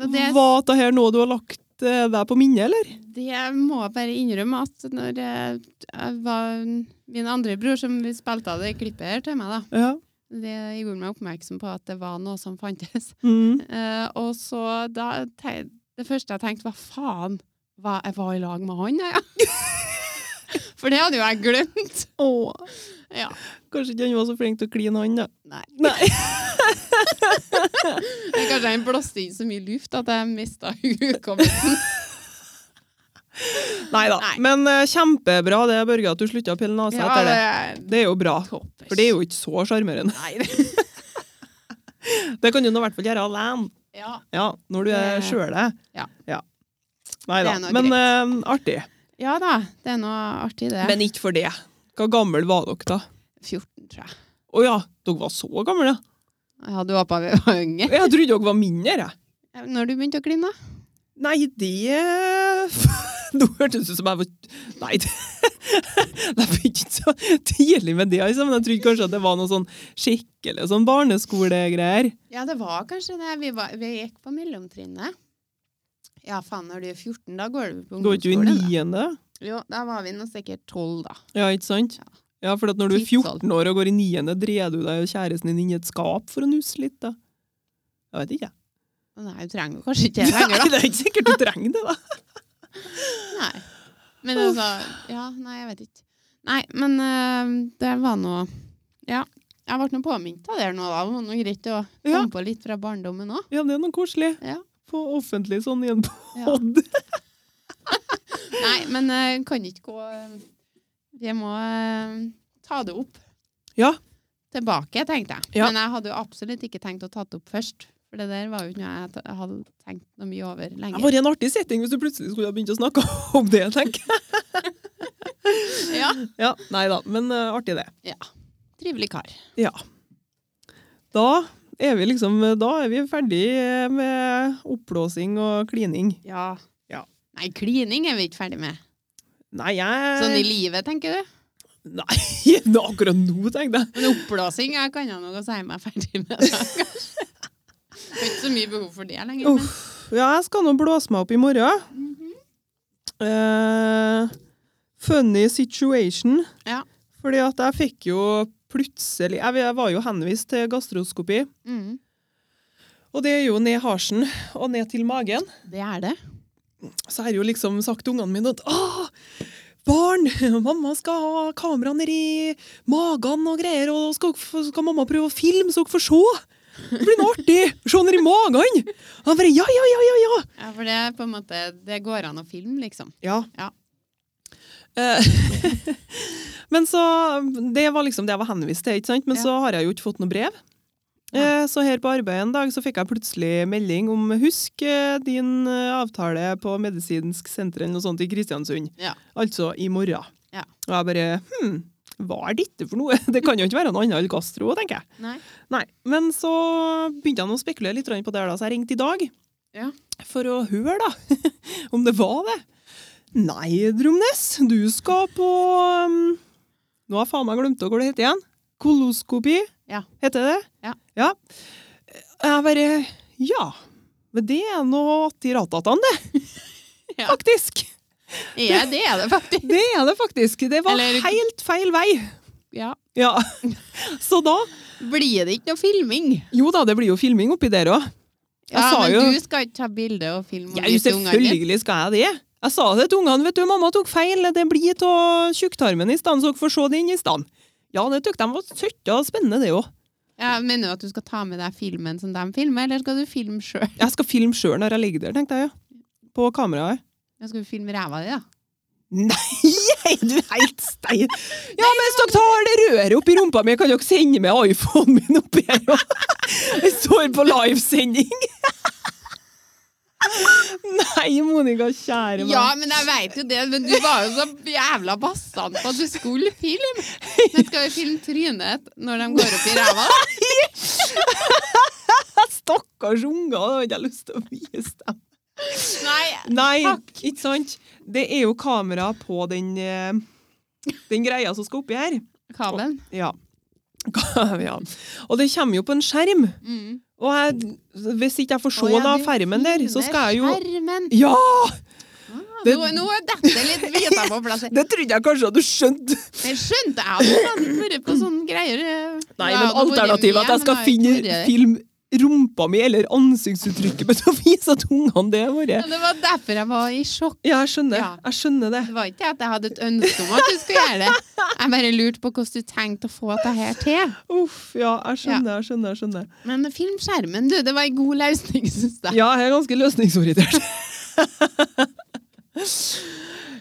Speaker 1: Og det
Speaker 2: Var det her noe du har lagt eh, deg på minnet, eller?
Speaker 1: Det må jeg bare innrømme at når jeg, jeg var min andre bror som spilte av det klippet her til meg, da,
Speaker 2: Ja.
Speaker 1: det gjorde meg oppmerksom på at det var noe som fantes.
Speaker 2: Mm.
Speaker 1: Eh, og så da te- Det første jeg tenkte, var faen, hva, jeg var i lag med han, jeg, ja. For det hadde jo jeg glemt.
Speaker 2: Åh,
Speaker 1: Ja.
Speaker 2: kanskje ikke han var så flink til å kline han, da.
Speaker 1: Nei.
Speaker 2: Nei.
Speaker 1: Men Kanskje han blåste inn så mye luft at jeg mista hukommelsen.
Speaker 2: Nei da.
Speaker 1: Nei.
Speaker 2: Men eh, kjempebra det, Børge, at du slutta å pille nesa
Speaker 1: Ja,
Speaker 2: etter det.
Speaker 1: det
Speaker 2: Det er jo bra.
Speaker 1: Toppers.
Speaker 2: For det er jo ikke så sjarmerende.
Speaker 1: Nei, det-
Speaker 2: Det kan du nå i hvert fall gjøre alene.
Speaker 1: ja.
Speaker 2: Ja, når du er
Speaker 1: Det-
Speaker 2: sjøl det.
Speaker 1: Ja.
Speaker 2: Nei da.
Speaker 1: Det er nå
Speaker 2: Men eh, artig.
Speaker 1: ja da, det er noe artig, det.
Speaker 2: Men ikke for det. Hvor gammel var dere da?
Speaker 1: 14, tror jeg.
Speaker 2: Å ja, dere var så gamle? ja.
Speaker 1: Jeg hadde håpa vi var unge. Eh,
Speaker 2: Jeg trodde dere var mindre. jeg.
Speaker 1: Når du begynte å kline, da?
Speaker 2: Nei, det Nå hørtes det ut som jeg var Nei, det jeg begynte så tidlig med det, liksom. Men jeg trodde kanskje at det var noe sånn skikkelig sånn barneskolegreier.
Speaker 1: Ja, det var kanskje det. Vi, var, vi gikk på mellomtrinnet. Ja, faen, når du er 14, da går du på
Speaker 2: Går ikke du i
Speaker 1: ungdomsskolen. da.
Speaker 2: niende?
Speaker 1: Jo, da var vi nå sikkert 12, da.
Speaker 2: Ja, ikke sant? Ja, for at når du er
Speaker 1: Tidsalder.
Speaker 2: 14 år og går i niende, dreier du deg og kjæresten din inn i et skap for å nusse litt, da? Jeg vet ikke, jeg.
Speaker 1: Nei, du trenger jo kanskje ikke det lenger,
Speaker 2: Nei,
Speaker 1: da.
Speaker 2: det er ikke sikkert du trenger det, da.
Speaker 1: Nei. Men altså Ja, nei, jeg vet ikke. Nei, men eh, det var nå Ja. Jeg ble nå påminnet av det nå, da. Det var nå greit å komme
Speaker 2: Ja.
Speaker 1: på litt fra barndommen òg.
Speaker 2: Ja, det er noe koselig.
Speaker 1: Ja.
Speaker 2: På offentlig sånn i en
Speaker 1: Ja.
Speaker 2: podd.
Speaker 1: Nei, men eh, kan ikke gå eh, Vi må eh, ta det opp.
Speaker 2: Ja.
Speaker 1: Tilbake, tenkte jeg.
Speaker 2: Ja.
Speaker 1: Men jeg hadde jo absolutt ikke tenkt å ta det opp først. For det der var jo ikke noe jeg t- hadde tenkt noe mye over
Speaker 2: Det
Speaker 1: lenge.
Speaker 2: var en artig setting hvis du plutselig skulle ha begynt å snakke om det, tenker jeg.
Speaker 1: Ja.
Speaker 2: Ja, nei da, men eh, artig det.
Speaker 1: Trivelig kar.
Speaker 2: Ja. Da er vi liksom, da er vi ferdig eh, med oppblåsing og klining.
Speaker 1: Ja.
Speaker 2: Ja.
Speaker 1: Nei, klining er vi ikke ferdig med.
Speaker 2: Nei, jeg...
Speaker 1: Sånn i livet, tenker du?
Speaker 2: Nei, nå akkurat nå tenkte jeg.
Speaker 1: Men oppblåsing jeg kan jeg nok si meg ferdig med. da, kanskje. Jeg har ikke så mye behov for det lenger. men-
Speaker 2: Uff. Ja, jeg skal nå blåse meg opp i morgen. Eh, funny situation.
Speaker 1: Ja.
Speaker 2: Fordi at jeg fikk jo plutselig... Jeg, jeg var jo henvist til gastroskopi,
Speaker 1: Mm.
Speaker 2: og det er jo ned harsen og ned til magen.
Speaker 1: Det er det.
Speaker 2: så har jeg jo liksom sagt til ungene mine at «Åh, barn, mamma skal ha kamera nedi magen og greier, og skal, så skal mamma prøve å filme så dere får se. Det blir noe artig! Se nedi magen! Og jeg bare ja, ja, ja, ja, ja.
Speaker 1: Ja, for det er på en måte Det går an å filme, liksom.
Speaker 2: Ja.
Speaker 1: Ja.
Speaker 2: Eh, Men så Det var liksom det jeg var henvist til, ikke sant? Men
Speaker 1: Ja.
Speaker 2: så har jeg jo ikke fått noe brev.
Speaker 1: Nei.
Speaker 2: Eh, Så her på arbeid en dag så fikk jeg plutselig melding om husk eh, din eh, avtale på medisinsk senter eller noe sånt i Kristiansund.
Speaker 1: Ja.
Speaker 2: Altså i morgen.
Speaker 1: Ja.
Speaker 2: Og jeg bare hm, hva er dette for noe? Det kan jo ikke være noe annet enn gastro, tenker jeg.
Speaker 1: Nei.
Speaker 2: Nei, Men så begynte jeg nå å spekulere litt på det, her da, så jeg ringte i dag
Speaker 1: Ja.
Speaker 2: for å høre da, om det var det. Nei, Dromnes, du skal på um, Nå har jeg faen meg glemt hva det heter igjen. Koloskopi,
Speaker 1: Ja.
Speaker 2: heter det?
Speaker 1: Ja.
Speaker 2: ja. Jeg bare Ja. Men det er nå atti ratatan, det.
Speaker 1: Ja.
Speaker 2: Faktisk.
Speaker 1: Ja, det er det faktisk.
Speaker 2: Det er det faktisk. Det var
Speaker 1: Eller-
Speaker 2: helt feil vei.
Speaker 1: Ja.
Speaker 2: Ja. Så da
Speaker 1: Blir det ikke noe filming?
Speaker 2: Jo da, det blir jo filming oppi der òg. Jeg
Speaker 1: Ja,
Speaker 2: sa
Speaker 1: men
Speaker 2: jo-
Speaker 1: du skal ikke ta bilde og film og
Speaker 2: Ja,
Speaker 1: vise ungene dine.
Speaker 2: selvfølgelig skal jeg det. Jeg sa det til ungene, vet du, mamma tok feil, det blir av tjukktarmen i stedet, så dere får se den i stedet. Ja, det tykte de var søtt og spennende det òg.
Speaker 1: Ja, mener du at du skal ta med deg filmen som de filmer, eller skal du filme sjøl?
Speaker 2: Jeg skal filme sjøl når jeg ligger der, tenkte jeg, ja. På kameraet.
Speaker 1: Skal du filme ræva di, da?
Speaker 2: Nei, er du er helt stein! Ja, mens dere tar det røret oppi rumpa mi, kan dere sende med iPhonen min oppi her òg? Jeg står på livesending! Nei, Monica, kjære meg.
Speaker 1: Ja, men jeg veit jo det, men du var jo så jævla bastant på at du skulle filme. Men skal vi filme trynet når de går opp i ræva?
Speaker 2: Stakkars unger, det har ikke jeg lyst til å vise dem.
Speaker 1: Nei.
Speaker 2: Nei,
Speaker 1: Takk.
Speaker 2: ikke sant? Det er jo kamera på den, eh, den greia som skal oppi her.
Speaker 1: Kabelen?
Speaker 2: Ja. ja. Og det kommer jo på en skjerm.
Speaker 1: Mm.
Speaker 2: Og jeg, hvis ikke jeg får se
Speaker 1: Å, ja,
Speaker 2: da,
Speaker 1: du
Speaker 2: skjermen der, så
Speaker 1: filmer
Speaker 2: skal jeg jo
Speaker 1: Skjermen!
Speaker 2: Ja!
Speaker 1: Ah,
Speaker 2: Det-
Speaker 1: nå- Nå er dette litt vita på plass.
Speaker 2: Det trodde jeg kanskje at du skjønte.
Speaker 1: Jeg skjønte jeg hadde faen ikke vært på sånne greier. eh.
Speaker 2: Nei,
Speaker 1: Ja, det
Speaker 2: men
Speaker 1: har vært
Speaker 2: alternativet
Speaker 1: mye,
Speaker 2: at jeg skal
Speaker 1: men
Speaker 2: finne
Speaker 1: har ikke vært-
Speaker 2: film rumpa mi eller ansiktsuttrykket mitt og vise at ungene det har
Speaker 1: Ja,
Speaker 2: vært
Speaker 1: Det var derfor jeg var i sjokk.
Speaker 2: Ja, jeg skjønner.
Speaker 1: Ja.
Speaker 2: Jeg skjønner det.
Speaker 1: Det var ikke at jeg hadde et ønske om at du skulle gjøre det. Jeg bare lurte på hvordan du tenkte å få dette her til.
Speaker 2: Uff, ja, jeg skjønner, jeg skjønner. jeg skjønner.
Speaker 1: Men film skjermen, du. Det var en god løsning, syns jeg.
Speaker 2: Ja, jeg er ganske løsningsorientert.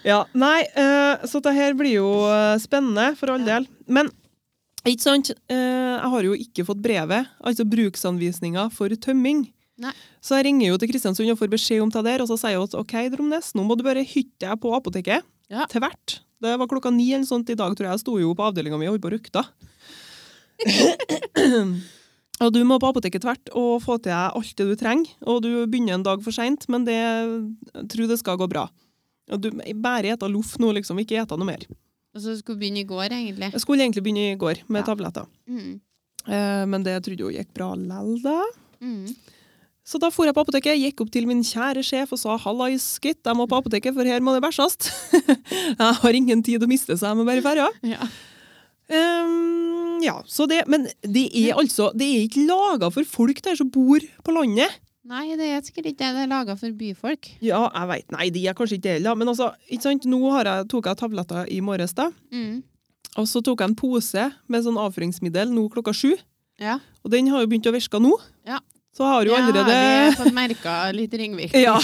Speaker 2: Ja, nei, eh, så det her blir jo eh, spennende for all del. Men ikke sant, eh, jeg har jo ikke fått brevet, altså bruksanvisninga for tømming.
Speaker 1: Nei.
Speaker 2: Så jeg ringer jo til Kristiansund og får beskjed om det der, og så sier jeg at ok, Dromnes, nå må du bare hytte deg på apoteket.
Speaker 1: Ja.
Speaker 2: Til hvert. Det var klokka ni eller sånt i dag, tror jeg. Jeg sto jo på avdelinga mi og holdt på å røkte. Og du må på apoteket tvert og få til deg alt det du trenger. Og du begynner en dag for seint, men det jeg tror det skal gå bra. Og du bare eta loff nå, liksom. Ikke eta noe mer.
Speaker 1: Og så skulle begynne i går, egentlig.
Speaker 2: Jeg skulle egentlig begynne i går med
Speaker 1: Ja.
Speaker 2: tabletter,
Speaker 1: Mm.
Speaker 2: Eh, men det trodde jeg jo gikk bra lell, da.
Speaker 1: Mm.
Speaker 2: Så da for jeg på apoteket, gikk opp til min kjære sjef og sa hallais, gutt, jeg må på apoteket, for her må det bæsjes. jeg har ingen tid å miste, så jeg må bare dra.
Speaker 1: Ja.
Speaker 2: Ehm, ja, så det, men det er altså Det er ikke laga for folk der som bor på landet.
Speaker 1: Nei, det er sikkert ikke det. Det er laga for byfolk.
Speaker 2: Ja, jeg veit. Nei, de er kanskje ikke det heller. Men altså, ikke sant? nå har jeg, tok jeg tabletter i morges, da.
Speaker 1: Mm.
Speaker 2: Og så tok jeg en pose med sånn avføringsmiddel nå klokka sju.
Speaker 1: Ja.
Speaker 2: Og den har jo begynt å virke nå.
Speaker 1: Ja.
Speaker 2: Så har jo allerede
Speaker 1: Ja, vi har fått merka litt ringvirkninger.
Speaker 2: Ja.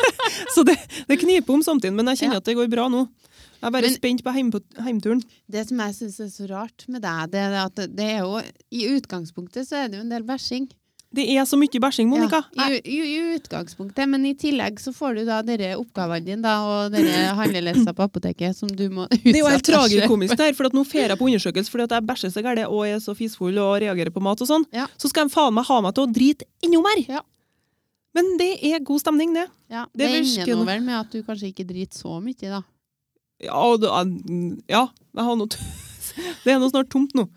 Speaker 2: så det, det kniper om samtidig, men jeg kjenner
Speaker 1: Ja.
Speaker 2: at det går bra nå. Jeg er bare
Speaker 1: Men-
Speaker 2: spent på heim, heimturen.
Speaker 1: Det som jeg syns er så rart med deg, det er at det er jo I utgangspunktet så er det jo en del bæsjing.
Speaker 2: Det er så mye bæsjing, Monica.
Speaker 1: Ja, i, i, I utgangspunktet, men i tillegg så får du da dere oppgavene dine da, og dere handlelesser på apoteket som du må utsette
Speaker 2: Det er jo
Speaker 1: deg
Speaker 2: helt
Speaker 1: selv
Speaker 2: tragikomisk der, for at nå fer jeg på undersøkelse fordi at jeg bæsjer så gærent og er så fisfull og reagerer på mat og sånn.
Speaker 1: Ja.
Speaker 2: Så skal de faen meg ha meg til å drite enda mer!
Speaker 1: Ja.
Speaker 2: Men det er god stemning, det.
Speaker 1: Ja,
Speaker 2: Det
Speaker 1: det
Speaker 2: virker
Speaker 1: ender nå
Speaker 2: nå.
Speaker 1: vel med at du kanskje ikke driter så mye, da.
Speaker 2: Ja, og da, ja jeg har noe, det er nå snart tomt nå.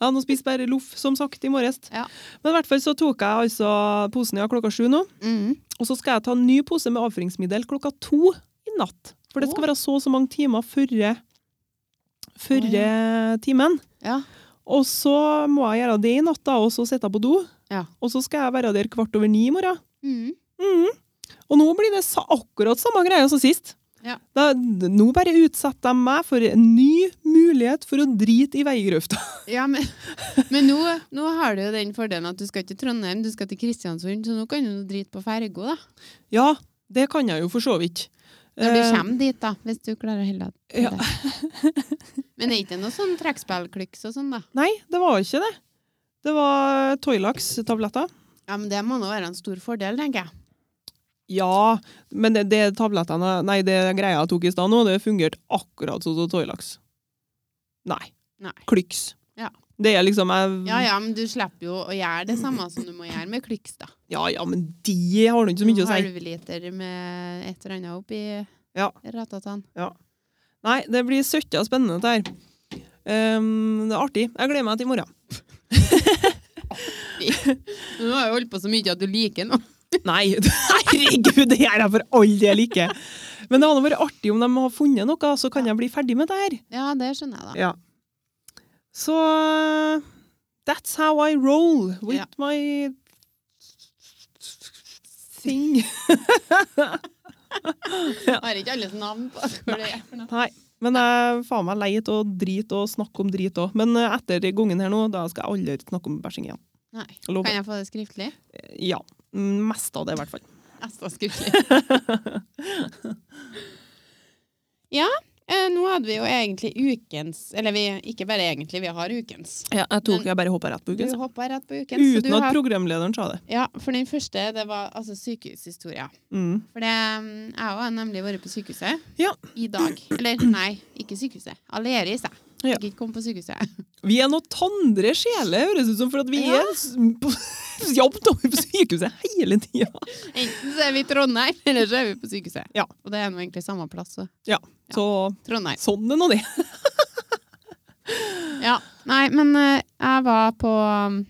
Speaker 2: Jeg har nå spist bare loff, som sagt, i morges.
Speaker 1: Ja.
Speaker 2: Men i hvert fall så tok jeg altså posen ja, klokka sju nå,
Speaker 1: Mm.
Speaker 2: og så skal jeg ta en ny pose med avføringsmiddel klokka to i natt. For det skal
Speaker 1: Å.
Speaker 2: være så og så mange timer førre, førre
Speaker 1: Å,
Speaker 2: timen.
Speaker 1: Ja.
Speaker 2: Og så må jeg gjøre det i natt, da, og så sitte på do.
Speaker 1: Ja.
Speaker 2: Og så skal jeg være der kvart over ni i morgen.
Speaker 1: Mm.
Speaker 2: Mhm. Og nå blir det sa akkurat samme greia som sist.
Speaker 1: Ja.
Speaker 2: Da, nå bare utsetter de meg for en ny mulighet for å drite i veigrøfta.
Speaker 1: ja men, men nå, nå har du jo den fordelen at du skal til Trondheim, du skal til Kristiansund, så nå kan du nå drite på ferga, da.
Speaker 2: Ja, det kan jeg jo for så vidt.
Speaker 1: Når du
Speaker 2: Eh,
Speaker 1: kommer dit, da, hvis du klarer å holde deg
Speaker 2: Ja.
Speaker 1: til det. Men det er ikke noe sånn trekkspillklyks og sånn, da?
Speaker 2: Nei, det var ikke det. Det var Toilax-tabletter.
Speaker 1: Ja, men Det må nå være en stor fordel, tenker jeg.
Speaker 2: Ja, men det, det tablettene Nei, det greia jeg tok i stad nå, det fungerte akkurat sånn som Toilax. Nei.
Speaker 1: Nei.
Speaker 2: Klyks.
Speaker 1: Ja.
Speaker 2: Det er liksom jeg,
Speaker 1: Ja ja, men du slipper jo å gjøre det samme som du må gjøre med klyks, da.
Speaker 2: ja, ja, men de har nå ikke så mye å si.
Speaker 1: Halvliter med et eller annet oppi
Speaker 2: Ja.
Speaker 1: ratatan.
Speaker 2: Nei, det blir søtta spennende dette her. Ehm, det er artig. Jeg gleder meg til i morgen.
Speaker 1: Du har jo holdt på så mye at du liker noe.
Speaker 2: Nei, herregud, det gjør jeg for all del ikke. Men det hadde vært artig om de har funnet noe, så kan jeg bli ferdig med det her.
Speaker 1: Ja, det skjønner jeg, da.
Speaker 2: Ja. Så uh, That's how I roll with
Speaker 1: Ja.
Speaker 2: my thing.
Speaker 1: Jeg har ikke alles navn på hvor det er. for noe.
Speaker 2: Nei. Men jeg er faen meg lei av drit og snakke om drit òg. Men uh, etter gangen her nå, da skal jeg aldri snakke om bæsjing igjen.
Speaker 1: Nei.
Speaker 2: Jeg lover.
Speaker 1: Kan jeg få det skriftlig?
Speaker 2: Ja. Mest av det, i hvert fall.
Speaker 1: Jeg står skriftlig. ja, eh, nå hadde vi jo egentlig ukens Eller vi, ikke bare egentlig, vi har ukens.
Speaker 2: Ja, jeg tok, jeg bare hoppa rett på
Speaker 1: Du
Speaker 2: uken. så.
Speaker 1: hoppa rett på ukens. så
Speaker 2: Uten
Speaker 1: du
Speaker 2: at
Speaker 1: har-
Speaker 2: programlederen sa det.
Speaker 1: Ja, for den første, det var altså sykehushistoria.
Speaker 2: Mm.
Speaker 1: For det, mm, jeg har nemlig vært på sykehuset
Speaker 2: Ja.
Speaker 1: i dag. Eller nei, ikke sykehuset. Aleris, jeg.
Speaker 2: Ja.
Speaker 1: Ikke kom på sykehuset.
Speaker 2: Vi er noe tandre sjeler, høres det ut som, for at vi
Speaker 1: Ja.
Speaker 2: er s- på jobb da, på sykehuset hele tida.
Speaker 1: Enten så er vi i Trondheim, eller så er vi på sykehuset.
Speaker 2: Ja.
Speaker 1: Og det er nå egentlig samme plass. Så.
Speaker 2: Så
Speaker 1: Trondheim.
Speaker 2: sånn er nå det.
Speaker 1: Ja, nei, men eh, jeg var på, mm,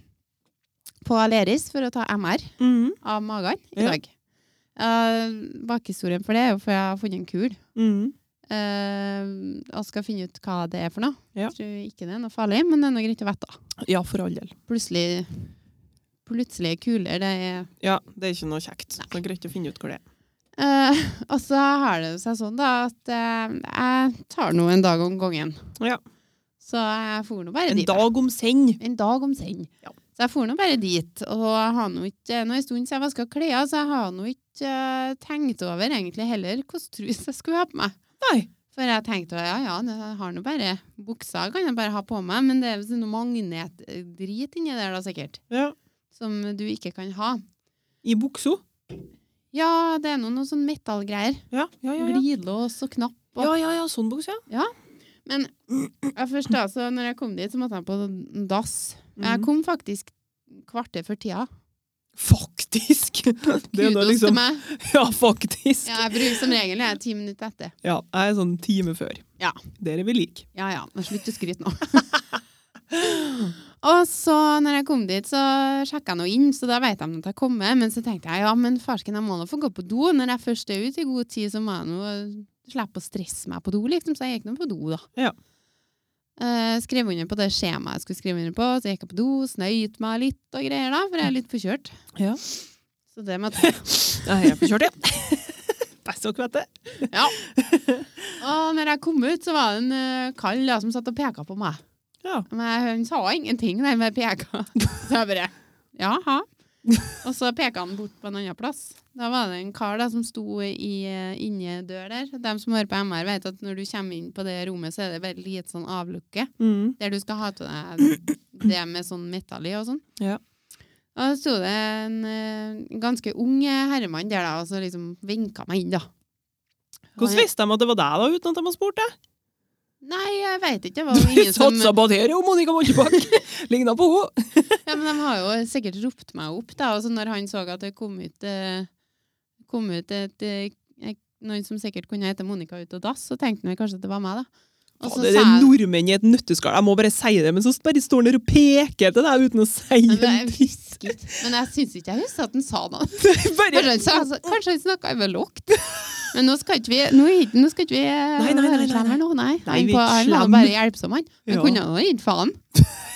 Speaker 1: på Aleris for å ta MR
Speaker 2: Mm.
Speaker 1: av magen i
Speaker 2: Ja.
Speaker 1: dag. Eh, bakhistorien for det er jo for jeg har funnet en kul.
Speaker 2: Mm.
Speaker 1: eh, og skal finne ut hva det er for noe.
Speaker 2: Ja.
Speaker 1: Jeg tror ikke det er noe farlig, men det er noe greit å vite. da.
Speaker 2: Ja, for all del.
Speaker 1: Plutselig, plutselig kuler, det er
Speaker 2: Ja, Det er ikke noe kjekt. Det er greit å finne ut hvor det er.
Speaker 1: Eh, og så har det seg sånn da at eh, jeg tar nå en dag om gangen.
Speaker 2: Ja.
Speaker 1: Så jeg får nå bare
Speaker 2: En
Speaker 1: dit.
Speaker 2: dag om seng.
Speaker 1: En dag om send.
Speaker 2: Ja.
Speaker 1: Så Så jeg for nå bare dit. Og jeg har nå ikke Nå er det en stund siden jeg vaska klær, så jeg har nå ikke eh, tenkt over egentlig heller hvilken trus jeg skulle ha på meg.
Speaker 2: Nei.
Speaker 1: For jeg tenkte ja, ja, det- jeg har nå bare buksa, kan jeg bare ha på meg. Men det er visst noe magnetdrit inni der, da, sikkert.
Speaker 2: Ja.
Speaker 1: Som du ikke kan ha.
Speaker 2: I buksa.
Speaker 1: Ja, det er nå noe sånn metallgreier.
Speaker 2: Ja, ja, ja. Ja,
Speaker 1: Glidelås og knapp. Og
Speaker 2: ja, ja, ja sånn bukse, ja.
Speaker 1: Men ja, først da, så når jeg kom dit, så måtte jeg på en dass. Jeg
Speaker 2: Mhm.
Speaker 1: kom faktisk kvarter før tida.
Speaker 2: Faktisk! Det er da
Speaker 1: Kudos til
Speaker 2: liksom
Speaker 1: meg.
Speaker 2: Ja, faktisk.
Speaker 1: Ja, jeg bruker som regel jeg er ti minutter etter.
Speaker 2: Ja, jeg er sånn time før.
Speaker 1: Ja.
Speaker 2: Dere vil like.
Speaker 1: Ja, ja, men slutt å skryte nå. og så når jeg kom dit, så sjekka jeg nå inn, så da vet de at jeg kommer. Men så tenkte jeg ja, men farsken, jeg må nå få gå på do. Når jeg først er ute i god tid, så må jeg nå slippe å stresse meg på do, liksom. Så jeg gikk nå på do, da.
Speaker 2: Ja.
Speaker 1: Eh, skrev under på det skjemaet jeg skulle skrive under på, så gikk jeg på do, snøyt meg litt og greier, da, for jeg er litt forkjørt.
Speaker 2: Ja.
Speaker 1: Så det måtte jeg.
Speaker 2: Nei, jeg er forkjørt, ja. Best dere vet det.
Speaker 1: Ja. Og når jeg kom ut, så var det en eh, kall da, som satt og peka på meg.
Speaker 2: Ja.
Speaker 1: Men jeg- hun sa ingenting, den med peka. Så jeg bare jaha. Og så peka han bort på en annen plass. Da var det en kar da, som sto i eh, inni dør der. De som hører på MR, vet at når du kommer inn på det rommet, så er det veldig lite sånn avlukke.
Speaker 2: Mm.
Speaker 1: Der du skal ha til deg det med sånn metall i og sånn.
Speaker 2: Ja.
Speaker 1: Og så sto det en eh, ganske ung eh, herremann der da, og så liksom vinka meg inn, da.
Speaker 2: Hvordan visste de at det var deg, da, uten at de har spurt deg?
Speaker 1: Nei, jeg veit ikke. Det var jo
Speaker 2: Du
Speaker 1: ingen som
Speaker 2: satsa på at her er jo Monica Moltebakk! Ligna på henne!
Speaker 1: ja, men De har jo sikkert ropt meg opp, da. Og så når han så at det kom ut, eh, kom ut et, eh, ek- noen som sikkert kunne hete Monica ut og dass, så tenkte han kanskje at det var meg, da. Og så
Speaker 2: Det
Speaker 1: sa
Speaker 2: er
Speaker 1: jeg
Speaker 2: nordmenn i et nøtteskall. Jeg må bare si det, men så bare står han der og peker til deg uten å si
Speaker 1: Men det er
Speaker 2: en dritt.
Speaker 1: Men jeg syns ikke jeg husker at han sa noe.
Speaker 2: Bare
Speaker 1: Kanskje han, sa- altså, kanskje han snakka over lågt. Men nå skal ikke vi Nå, er ikke- nå skal ikke vi
Speaker 2: Nei, nei, nei, nei,
Speaker 1: nei. Nå, nei.
Speaker 2: Nei,
Speaker 1: han
Speaker 2: vi
Speaker 1: på, han var
Speaker 2: slem.
Speaker 1: bare hjelpsom, han. Han
Speaker 2: Ja.
Speaker 1: kunne jo gitt faen.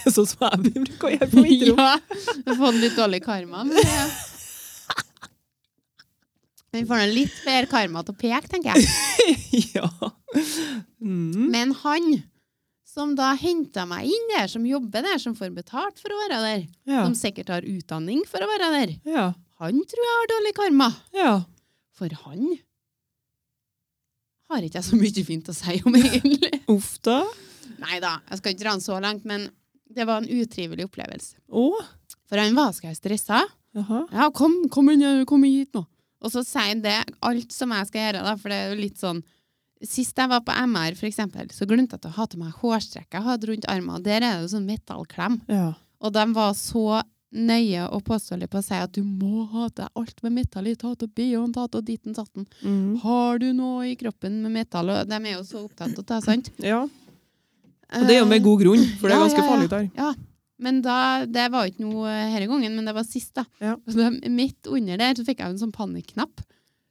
Speaker 2: sånn som jeg bruker å gjøre på mitt rom.
Speaker 1: Ja, vi har fått litt dårlig karma. Men det... Men Vi får nå litt bedre karma til å peke, tenker jeg.
Speaker 2: Ja. Mm.
Speaker 1: Men han som da henta meg inn der, som jobber der, som får betalt for å være der,
Speaker 2: Ja.
Speaker 1: som sikkert har utdanning for å være der,
Speaker 2: Ja.
Speaker 1: han tror jeg har dårlig karma.
Speaker 2: ja.
Speaker 1: For han har ikke jeg så mye fint å si om, egentlig.
Speaker 2: Uff da.
Speaker 1: Nei da, jeg skal ikke dra den så langt, men det var en utrivelig opplevelse.
Speaker 2: Å.
Speaker 1: For han var så stressa.
Speaker 2: Jaha.
Speaker 1: Ja, kom, kom, inn, kom hit nå. Og så sier han det, alt som jeg skal gjøre, da, for det er jo litt sånn Sist jeg var på MR, for eksempel, så glemte jeg til å ha til meg hårstrekk jeg hadde rundt armen. og Der er det jo sånn metallklem.
Speaker 2: Ja.
Speaker 1: Og de var så nøye og påståelige på å si at du må ha til deg alt med metall i. Ta til BH-en, ta til ditten, datten.
Speaker 2: Mm.
Speaker 1: Har du noe i kroppen med metall? Og de er jo så opptatt av det, sant?
Speaker 2: ja. Og det er jo med god grunn, for det er
Speaker 1: Ja,
Speaker 2: ganske
Speaker 1: ja, ja.
Speaker 2: farlig der.
Speaker 1: Men da, det var ikke noe denne gangen, men det var sist, da.
Speaker 2: Ja.
Speaker 1: Og da, midt under der så fikk jeg en sånn panikknapp.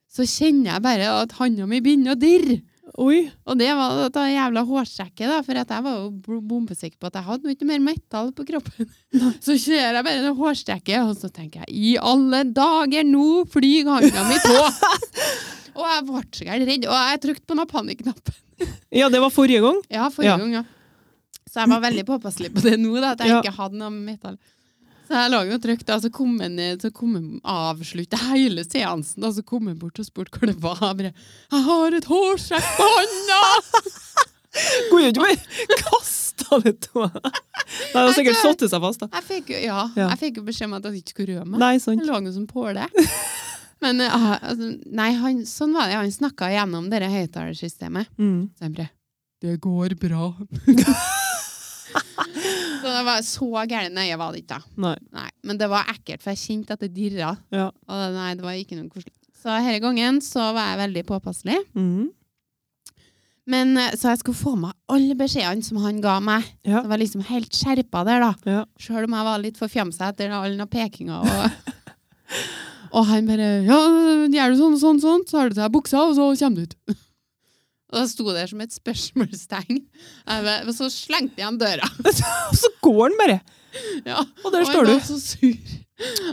Speaker 1: Så kjenner jeg bare at handa mi begynner å dirre.
Speaker 2: Oi.
Speaker 1: Og det var dette jævla hårstrekket, da, for at jeg var jo bl- bombesikker på at jeg hadde noe ikke mer metall på kroppen. Så ser jeg bare det hårstrekket, og så tenker jeg i alle dager, nå flyr handa mi på! og jeg ble så gæren redd, og jeg trykte på noen panikknapp.
Speaker 2: Ja, det var forrige gang.
Speaker 1: Ja, forrige
Speaker 2: Ja.
Speaker 1: gang, ja. Så jeg var veldig påpasselig på det nå, da, at jeg
Speaker 2: Ja.
Speaker 1: ikke hadde noe metall. Så jeg lå jo trygt, da, så kom han eh, så kom han avsluttet hele seansen, da, så kom han bort og spurte hva det var. Jeg bare 'Jeg har et hårstrekk på hånda!'
Speaker 2: Kunne du ikke bare kasta det til meg? Nei, det har sikkert satt seg fast, da.
Speaker 1: Jeg fikk jo, ja,
Speaker 2: Ja.
Speaker 1: jeg fikk jo beskjed om at jeg ikke skulle røre meg.
Speaker 2: Nei,
Speaker 1: Jeg
Speaker 2: sant.
Speaker 1: lå jo som påle. Men eh, ah, altså, nei, han, sånn var det. Han snakka gjennom det høyttalersystemet.
Speaker 2: Mm.
Speaker 1: Så han bare 'Det går bra'. så det var så gærent nøye var det ikke, da.
Speaker 2: Nei.
Speaker 1: Nei, men det var ekkelt, for jeg kjente at det dirra.
Speaker 2: Ja.
Speaker 1: Og det- nei, det var ikke noe koselig. Så denne gangen så var jeg veldig påpasselig.
Speaker 2: Mm.
Speaker 1: Men eh, så jeg skulle få med alle beskjedene som han ga meg.
Speaker 2: Ja.
Speaker 1: Det var liksom helt skjerpa der, da.
Speaker 2: Ja.
Speaker 1: Sjøl om jeg var litt forfjamsa etter all den pekinga. Og, og han bare 'Ja, gjør du sånn og sånn, sånn, så har du til deg buksa, og så kommer du ut'. Og da sto det som et spørsmålstegn. Jeg bare- Og så slengte jeg igjen døra.
Speaker 2: Og så går han bare.
Speaker 1: Ja.
Speaker 2: Og der
Speaker 1: Og
Speaker 2: står
Speaker 1: Han
Speaker 2: du.
Speaker 1: var så sur.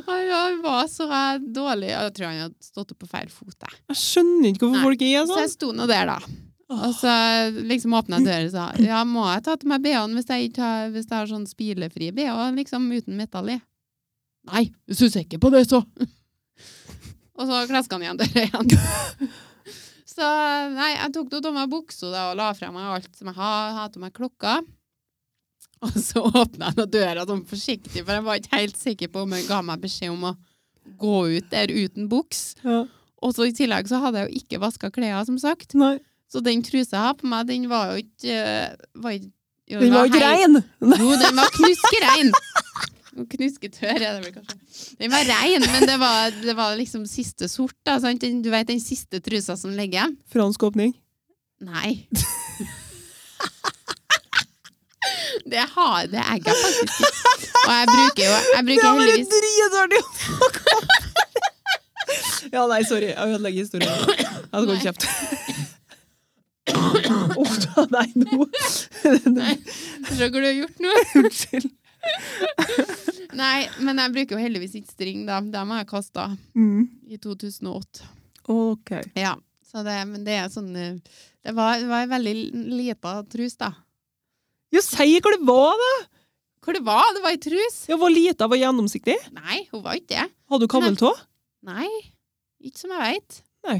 Speaker 1: Ai, ja, Han var så eh, dårlig. Jeg tror han hadde stått opp på feil fot. Jeg.
Speaker 2: Jeg skjønner ikke hvorfor
Speaker 1: Nei.
Speaker 2: folk er
Speaker 1: Så
Speaker 2: sånn.
Speaker 1: jeg sto nå der, da. Og
Speaker 2: Altså,
Speaker 1: så liksom åpna døra og sa ja, må jeg ta til meg BH-en hvis, jeg ikke har- hvis jeg har sånn spilefri BH, liksom uten metall i? Nei, jeg syns ikke på det, så. og så klaska han igjen døra igjen. så nei, jeg tok nå av meg buksa da, og la fra meg alt som jeg har, hadde meg klokka. Og så åpna jeg nå døra sånn forsiktig, for jeg var ikke helt sikker på om hun ga meg beskjed om å gå ut der uten buks.
Speaker 2: Ja.
Speaker 1: Og så i tillegg så hadde jeg jo ikke vaska klærne, som sagt.
Speaker 2: Nei,
Speaker 1: Så den trusa jeg har på meg, den var jo ikke eh, var, ikke- jo,
Speaker 2: den var ikke
Speaker 1: helt-
Speaker 2: rein! Nei.
Speaker 1: Jo, den var knuskerein. Og Knusketørr er det vel kanskje. Den var rein, men det var, det var liksom siste sort. Da, sant? Den, du vet den siste trusa som ligger igjen?
Speaker 2: Fransk åpning.
Speaker 1: Nei. Det har det egget faktisk ikke. Og jeg bruker jo jeg
Speaker 2: Det
Speaker 1: bruker
Speaker 2: var bare
Speaker 1: heldigvis
Speaker 2: dritartig! ja, nei, sorry. Jeg ødelegger historien. Jeg hadde gått
Speaker 1: Nei.
Speaker 2: kjapt. Uff da, nei, nå
Speaker 1: Nei, Se hva du har gjort nå.
Speaker 2: Unnskyld.
Speaker 1: Nei, men jeg bruker jo heldigvis ikke string, da. Dem har jeg kasta
Speaker 2: Mm.
Speaker 1: i 2008.
Speaker 2: Ok.
Speaker 1: Ja, så det, men det er sånn eh, Det var, det var en veldig lita trus, da.
Speaker 2: Jo, si hva det var, da!
Speaker 1: Hvor det var? Det var ei trus!
Speaker 2: Jeg var lita, var gjennomsiktig.
Speaker 1: Nei, hun var ikke det.
Speaker 2: Hadde du kammeltå?
Speaker 1: Nei. Ikke som jeg veit.
Speaker 2: Nei.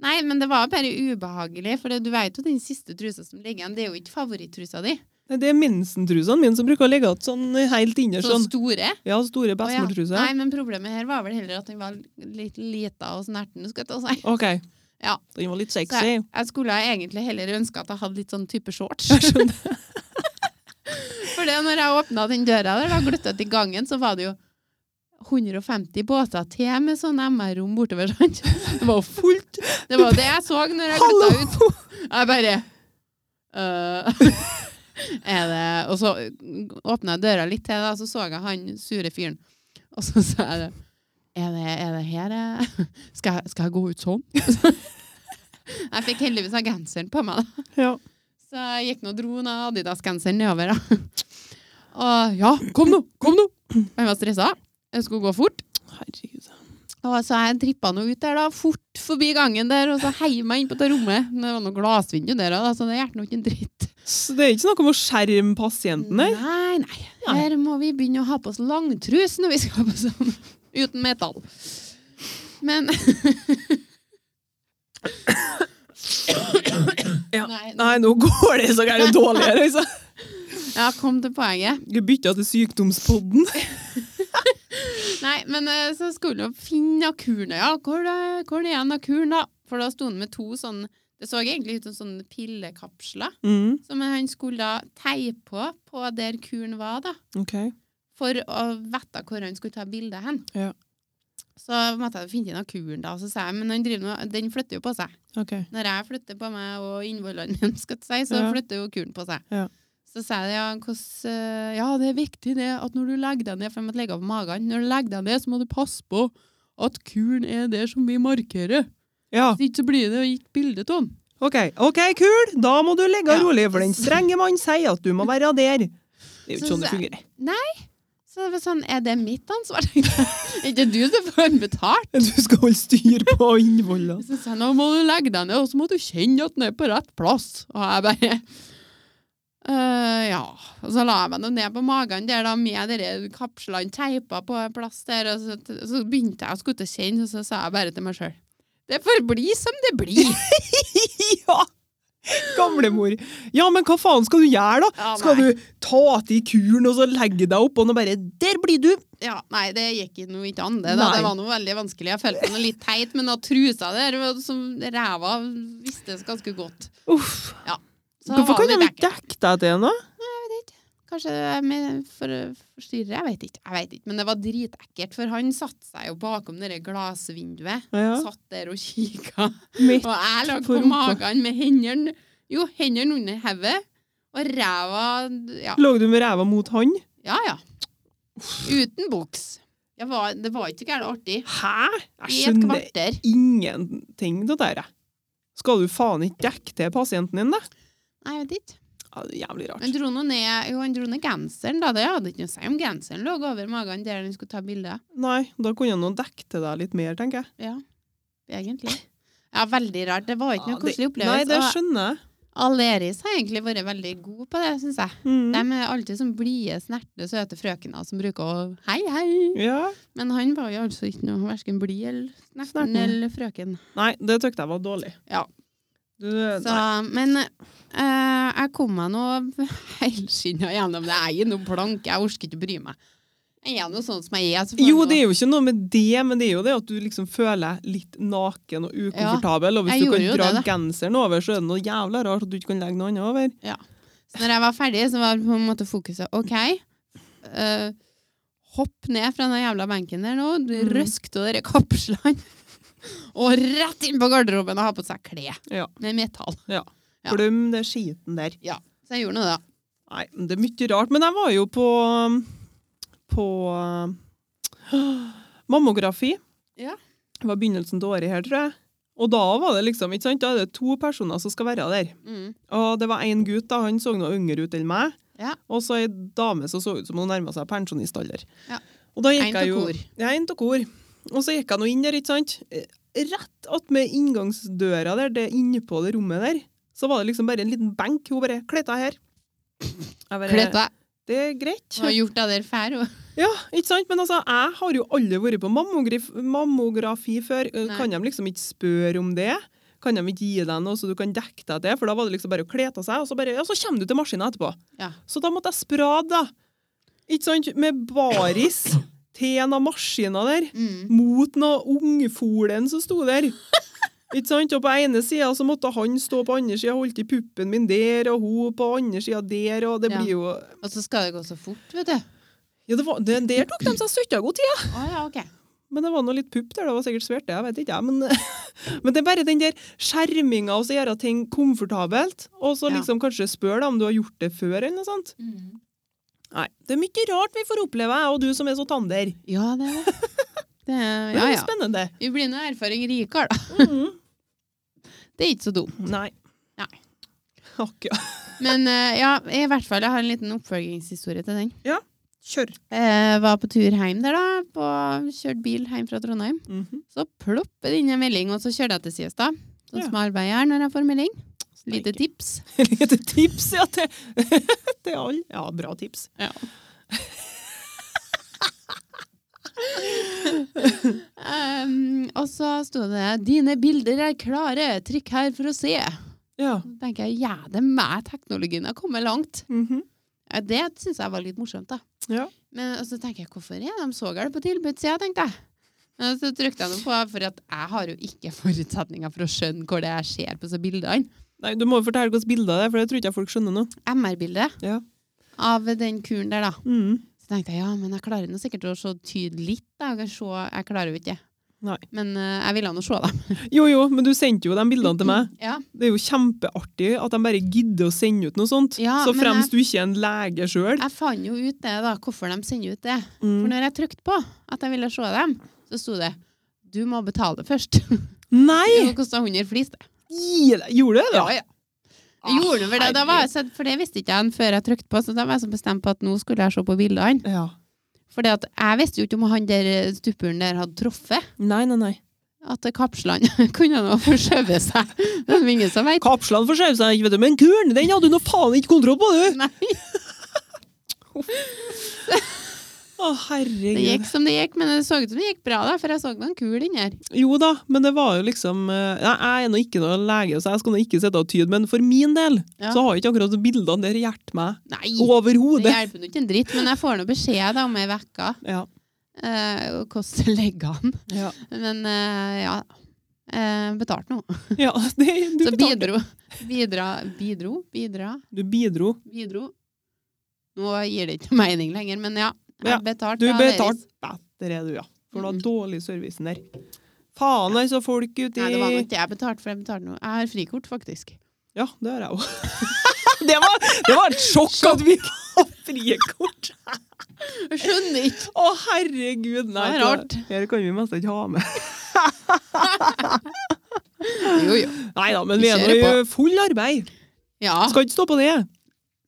Speaker 1: Nei, men det var bare ubehagelig, for det- du vet jo den siste trusa som ligger igjen, det er jo ikke favorittrusa di.
Speaker 2: Nei, Det er minsentrusene mine som bruker å ligge igjen sånn helt
Speaker 1: Så
Speaker 2: innerst. Sånn.
Speaker 1: store.
Speaker 2: Ja,
Speaker 1: Å,
Speaker 2: store
Speaker 1: ja.
Speaker 2: bestemortruser.
Speaker 1: Nei, men problemet her var vel heller at den var litt lita og snerten, skal jeg ta og si.
Speaker 2: Ok.
Speaker 1: Ja.
Speaker 2: Den var litt
Speaker 1: Så
Speaker 2: sexy.
Speaker 1: jeg, jeg skulle ha egentlig heller ønska at jeg hadde litt sånn type shorts.
Speaker 2: Jeg skjønner.
Speaker 1: For det når jeg åpna den døra der, da gløttet i gangen, så var det jo 150 båter til med sånn MR-rom bortover, sant? Det var jo fullt. Det var det jeg så når jeg
Speaker 2: Hallo!
Speaker 1: gløtta ut. Jeg bare øh, Er det Og så åpna jeg døra litt til, da, så så jeg han sure fyren. Og så sa jeg det. Er det, er det her jeg skal, jeg- skal jeg gå ut sånn? Jeg fikk heldigvis ha genseren på meg, da.
Speaker 2: Ja.
Speaker 1: Så jeg gikk nå og dro nå Adidas-genseren nedover. Da. Og ja, kom nå, kom nå! Han var stressa. Jeg skulle gå fort.
Speaker 2: Herregud.
Speaker 1: Og så jeg trippa nå ut der, da, fort forbi gangen der, og så heiv meg inn på det rommet. Men Det var noe glassvindu der òg, så det hjalp nå ikke en dritt.
Speaker 2: Så det er ikke snakk om å skjerme pasienten der?
Speaker 1: Nei, nei.
Speaker 2: Nei.
Speaker 1: Her må vi begynne å ha på oss langtrus når vi skal på sånn uten metall. Men
Speaker 2: Ja.
Speaker 1: Nei,
Speaker 2: Nei, nå går det så gærent dårligere, altså.
Speaker 1: ja, kom til poenget.
Speaker 2: Vi bytta til sykdomspodden.
Speaker 1: Nei, men eh, så skulle jeg finne akuren. Ja, hvor, eh, hvor er den akuren, da? For da sto han med to sånn Det så egentlig ut som sånne pillekapsler
Speaker 2: Mm,
Speaker 1: som han skulle da teipe på på der kuren var, da.
Speaker 2: ok.
Speaker 1: For å vite hvor han skulle ta bilde hen.
Speaker 2: Ja.
Speaker 1: Så måtte jeg finne inn akuren, da. Og så sa jeg men han driver nå- den flytter jo på seg.
Speaker 2: ok.
Speaker 1: Når jeg flytter på meg og innvollene mine, skal jeg si, så
Speaker 2: Ja.
Speaker 1: flytter jo kuren på seg.
Speaker 2: Ja.
Speaker 1: Så sa jeg ja, hvordan, eh, ja, det er viktig det at når du legger deg ned, for jeg måtte legge over magen, når du legger deg ned, så må du passe på at kuren er der som vi markerer.
Speaker 2: Ja,
Speaker 1: Hvis ikke så blir det ikke bilde av den.
Speaker 2: ok. Ok, kul! Da må du ligge
Speaker 1: Ja.
Speaker 2: rolig, for den strenge mann sier at du må være der. Det er jo ikke sånn det fungerer.
Speaker 1: Så det var sånn, er det mitt ansvar? tenkte jeg. Er ikke du som får betalt?
Speaker 2: Du skal holde styr på innvollene.
Speaker 1: Så sa jeg, nå må du legge deg ned, og så må du kjenne at den er på rett plass. Og jeg bare, «Øh, ja. Og så la jeg meg nå ned på magen der da, med dere kapslene teipa på en plass der, og så, så begynte jeg å skulle til å kjenne, og så sa jeg bare til meg selv, det får bli som det blir.
Speaker 2: ja! Gamlemor. Ja, men hva faen skal du gjøre, da?
Speaker 1: Ja,
Speaker 2: skal
Speaker 1: nei.
Speaker 2: du ta til kuren og så legge deg opp, og nå bare Der blir du!
Speaker 1: Ja, nei, det gikk noe ikke an det da.
Speaker 2: Nei.
Speaker 1: Det var noe veldig vanskelig. Jeg følte meg litt teit, men da trusa der, som ræva vistes ganske godt.
Speaker 2: Uff.
Speaker 1: Så
Speaker 2: Hvorfor
Speaker 1: var
Speaker 2: kan
Speaker 1: det
Speaker 2: de ikke
Speaker 1: dekket.
Speaker 2: dekke deg til noe?
Speaker 1: Kanskje det er med for å forstyrre, jeg vet ikke. Jeg vet ikke, men det var dritekkelt, for han satt seg jo bakom det der glasvinduet.
Speaker 2: Ja.
Speaker 1: Satt der og kikket.
Speaker 2: Midt
Speaker 1: Og jeg lå
Speaker 2: på
Speaker 1: på
Speaker 2: rumpa.
Speaker 1: magen med hendene, jo, hendene under hevet, og ræva, ja,
Speaker 2: Lå du med ræva mot han?
Speaker 1: ja, ja. Uten buks. Det var, det var ikke gærent artig.
Speaker 2: Hæ?
Speaker 1: I
Speaker 2: Jeg
Speaker 1: et
Speaker 2: skjønner
Speaker 1: kvarter.
Speaker 2: ingenting av det der. Skal du faen ikke dekke til pasienten din, da?
Speaker 1: Nei, jeg vet ikke.
Speaker 2: Ja, det er jævlig
Speaker 1: Han
Speaker 2: rart.
Speaker 1: dro nå ned, jo, han dro ned genseren, da. Det hadde ikke noe å si om genseren lå over magen der han skulle ta bilde.
Speaker 2: Nei, da kunne han nå dekke til deg litt mer, tenker jeg.
Speaker 1: Ja, egentlig. Ja, veldig rart. Det var ikke
Speaker 2: Ja,
Speaker 1: noe
Speaker 2: det-
Speaker 1: koselig opplevelse.
Speaker 2: Nei, det
Speaker 1: og
Speaker 2: skjønner jeg.
Speaker 1: Aleris har egentlig vært veldig god på det, syns jeg.
Speaker 2: Mm.
Speaker 1: De er alltid sånn blide, snertne, søte frøkener som bruker å hei, hei.
Speaker 2: Ja.
Speaker 1: Men han var jo altså ikke noe verken blid eller snerten
Speaker 2: Snerten.
Speaker 1: eller frøken.
Speaker 2: Nei, det tykte jeg var dårlig.
Speaker 1: Ja.
Speaker 2: Du, nei.
Speaker 1: Så, men eh, jeg kom meg nå helskinna gjennom det. Jeg er nå blank, jeg orker ikke bry meg. Jeg er nå sånn som jeg er. så får
Speaker 2: Jo,
Speaker 1: jeg nå-
Speaker 2: det er jo ikke noe med det, men det er jo det at du liksom føler deg litt naken og ukomfortabel. Og
Speaker 1: jeg
Speaker 2: hvis du
Speaker 1: gjorde
Speaker 2: kan
Speaker 1: jo
Speaker 2: dra
Speaker 1: det, da.
Speaker 2: genseren over, så er det noe jævla rart at du ikke kan legge noe annet over.
Speaker 1: Så når jeg var ferdig, så var på en måte fokuset OK. eh, hopp ned fra den jævla benken der nå. Du
Speaker 2: Mm.
Speaker 1: Røsk av dere kapslene. og rett inn på garderoben og ha på seg klær
Speaker 2: Ja.
Speaker 1: med metall. Ja.
Speaker 2: Glem det skiten der.
Speaker 1: Så jeg gjorde noe, da.
Speaker 2: Nei, men det er mye rart. Men jeg var jo på på eh, mammografi.
Speaker 1: Ja.
Speaker 2: Det var begynnelsen til året her, tror jeg. Og da var det liksom, ikke sant, da er det to personer som skal være der.
Speaker 1: Mm.
Speaker 2: Og det var en gutt, da, han så noe yngre ut enn meg.
Speaker 1: Ja.
Speaker 2: Og så ei dame som så ut som hun nærma seg pensjonistalder.
Speaker 1: Ja.
Speaker 2: Og da
Speaker 1: En
Speaker 2: gikk
Speaker 1: til
Speaker 2: jeg jo
Speaker 1: kor.
Speaker 2: Ja, en til kor. Og så gikk jeg nå inn der, ikke sant. Eh, Rett attmed inngangsdøra der, det innpå det rommet der, så var det liksom bare en liten benk. Hun bare Kle av her. Jeg bare,
Speaker 1: Kledd deg
Speaker 2: Det er greit.
Speaker 1: og gjort deg der fær. og-
Speaker 2: Ja, ikke sant? Men altså, jeg har jo aldri vært på mammograf mammografi før. Eh,
Speaker 1: Nei.
Speaker 2: Kan de liksom ikke spørre om det? Kan de ikke gi deg noe så du kan dekke deg til? For da var det liksom bare å kle av seg, og så bare, ja, så kommer du til maskina etterpå.
Speaker 1: Ja.
Speaker 2: Så da måtte jeg sprade, da. Ikke sant? Med baris til en av maskina der,
Speaker 1: Mm.
Speaker 2: mot noe ungfolen som sto der. Ikke sant? Og på ene sida så måtte han stå på andre sida, holdt i puppen min der, og hun på andre sida der, og det
Speaker 1: Ja.
Speaker 2: blir jo
Speaker 1: Og så skal det gå så fort, vet du.
Speaker 2: Ja, det var, det, der tok de seg søtta god tid.
Speaker 1: Å ja, OK.
Speaker 2: Men det var noe litt pupp der, det var sikkert svært det, jeg vet ikke, jeg. Men, men det er bare den der skjerminga og så gjøre ting komfortabelt, og så
Speaker 1: Ja.
Speaker 2: liksom kanskje spørre deg om du har gjort det før, eller noe sånt.
Speaker 1: Mm.
Speaker 2: Nei, det er mye rart vi får oppleve, jeg og du som er så tander.
Speaker 1: Ja, det er det. det er, ja,
Speaker 2: Men Det er
Speaker 1: ja.
Speaker 2: spennende.
Speaker 1: Vi blir nå erfaring rikere, da.
Speaker 2: Mhm.
Speaker 1: Det er ikke så dumt.
Speaker 2: Nei.
Speaker 1: Nei.
Speaker 2: Akkurat.
Speaker 1: Men eh, ja, i hvert fall, jeg har en liten oppfølgingshistorie til den.
Speaker 2: Kjør.
Speaker 1: Eh, var på tur hjem der, da. På, kjørt bil hjem fra Trondheim.
Speaker 2: Mhm.
Speaker 1: Så plopper det inn en melding, og så kjører jeg til Siesta. Sånn
Speaker 2: Ja.
Speaker 1: som jeg arbeider når jeg får melding. Lite
Speaker 2: Steike.
Speaker 1: tips.
Speaker 2: Lite tips, ja, til, til alle. Ja, bra tips.
Speaker 1: Um, og så sto det 'Dine bilder er klare. Trykk her for å se'.
Speaker 2: Ja.
Speaker 1: Så tenker jeg ja, det er meg teknologien har kommet langt.
Speaker 2: Mhm.
Speaker 1: Ja, Det syns jeg var litt morsomt, da.
Speaker 2: Ja.
Speaker 1: Men og så tenker jeg, hvorfor er de så gale på tilbudssida, tenkte jeg. Men så trykte jeg noe på, for at jeg har jo ikke forutsetninger for å skjønne hvor det er jeg ser på disse bildene.
Speaker 2: Nei, du må jo fortelle hvilket bilde det er, for det tror ikke jeg folk skjønner nå.
Speaker 1: MR-bildet
Speaker 2: Ja.
Speaker 1: av den kuren der, da.
Speaker 2: Mhm.
Speaker 1: Så tenkte jeg, ja, men jeg klarer nå sikkert å se tydelig litt, da. Jeg, kan se, jeg klarer jo ikke det.
Speaker 2: Nei.
Speaker 1: Men eh, jeg ville nå se dem.
Speaker 2: Jo, jo, men du sendte jo de bildene til meg.
Speaker 1: Ja.
Speaker 2: Det er jo kjempeartig at de bare gidder å sende ut noe sånt.
Speaker 1: Ja,
Speaker 2: så
Speaker 1: men
Speaker 2: fremst du ikke er en lege sjøl.
Speaker 1: Jeg fant jo ut det, da, hvorfor de sender ut det. For
Speaker 2: Mm.
Speaker 1: når jeg trykte på at jeg ville se dem, så sto det du må betale først.
Speaker 2: Nei!
Speaker 1: Det kosta 100 flis, det.
Speaker 2: Gi deg- Gjorde du det?
Speaker 1: Ja, ja. Jeg gjorde vel det, da var jeg, sett- for det visste ikke jeg før jeg trykte på, så da var jeg så bestemt på at nå skulle jeg se på bildene.
Speaker 2: Ja.
Speaker 1: For jeg visste jo ikke om han der eh, stupuren der hadde truffet.
Speaker 2: Nei, nei, nei.
Speaker 1: At kapslene kunne nå forskjøve seg. Det er ingen som vet.
Speaker 2: Kapslene forskjøv seg ikke, vet du, men kuren den hadde du nå faen ikke kontroll på, du!
Speaker 1: Nei,
Speaker 2: Å,
Speaker 1: det
Speaker 2: herregud.
Speaker 1: gikk som det gikk, men det så ut som det gikk bra, da, for jeg så noen kul inni her.
Speaker 2: Jo da, men det var jo liksom eh, Nei, jeg er nå ikke noe lege, så jeg skal nå ikke sitte og tyde, men for min del
Speaker 1: Ja.
Speaker 2: så har jo ikke akkurat bildene der hjulpet meg
Speaker 1: Nei, det
Speaker 2: overhodet.
Speaker 1: hjelper nå ikke en dritt, men jeg får nå beskjed da om ei uke
Speaker 2: Ja.
Speaker 1: eh, og hvordan det ligger an.
Speaker 2: Ja.
Speaker 1: Men eh, ja. Eh, betalt nå.
Speaker 2: ja, det du,
Speaker 1: Så
Speaker 2: betalte.
Speaker 1: bidro. Bidra. Bidro. Bidra.
Speaker 2: du bidro.
Speaker 1: bidro. Nå gir det ikke mening lenger, men ja. Jeg
Speaker 2: Ja,
Speaker 1: betalte
Speaker 2: Du
Speaker 1: av
Speaker 2: betalte
Speaker 1: deres.
Speaker 2: bedre, du, ja. For det
Speaker 1: Mm.
Speaker 2: var dårlig servicen der. Faen, altså, folk uti
Speaker 1: Nei, det var nok ikke jeg betalte, for jeg betalte noe. Jeg har frikort, faktisk.
Speaker 2: Ja, det har jeg òg. det, var- det var et sjokk at vi har frie kort!
Speaker 1: Jeg skjønner ikke.
Speaker 2: Å, herregud, nei.
Speaker 1: Det er rart.
Speaker 2: Her kan vi mest ikke ha med.
Speaker 1: Jo, jo.
Speaker 2: Nei da, men
Speaker 1: Vi
Speaker 2: vi er nå i
Speaker 1: kjører
Speaker 2: full arbeid.
Speaker 1: Ja.
Speaker 2: Skal ikke stå på det.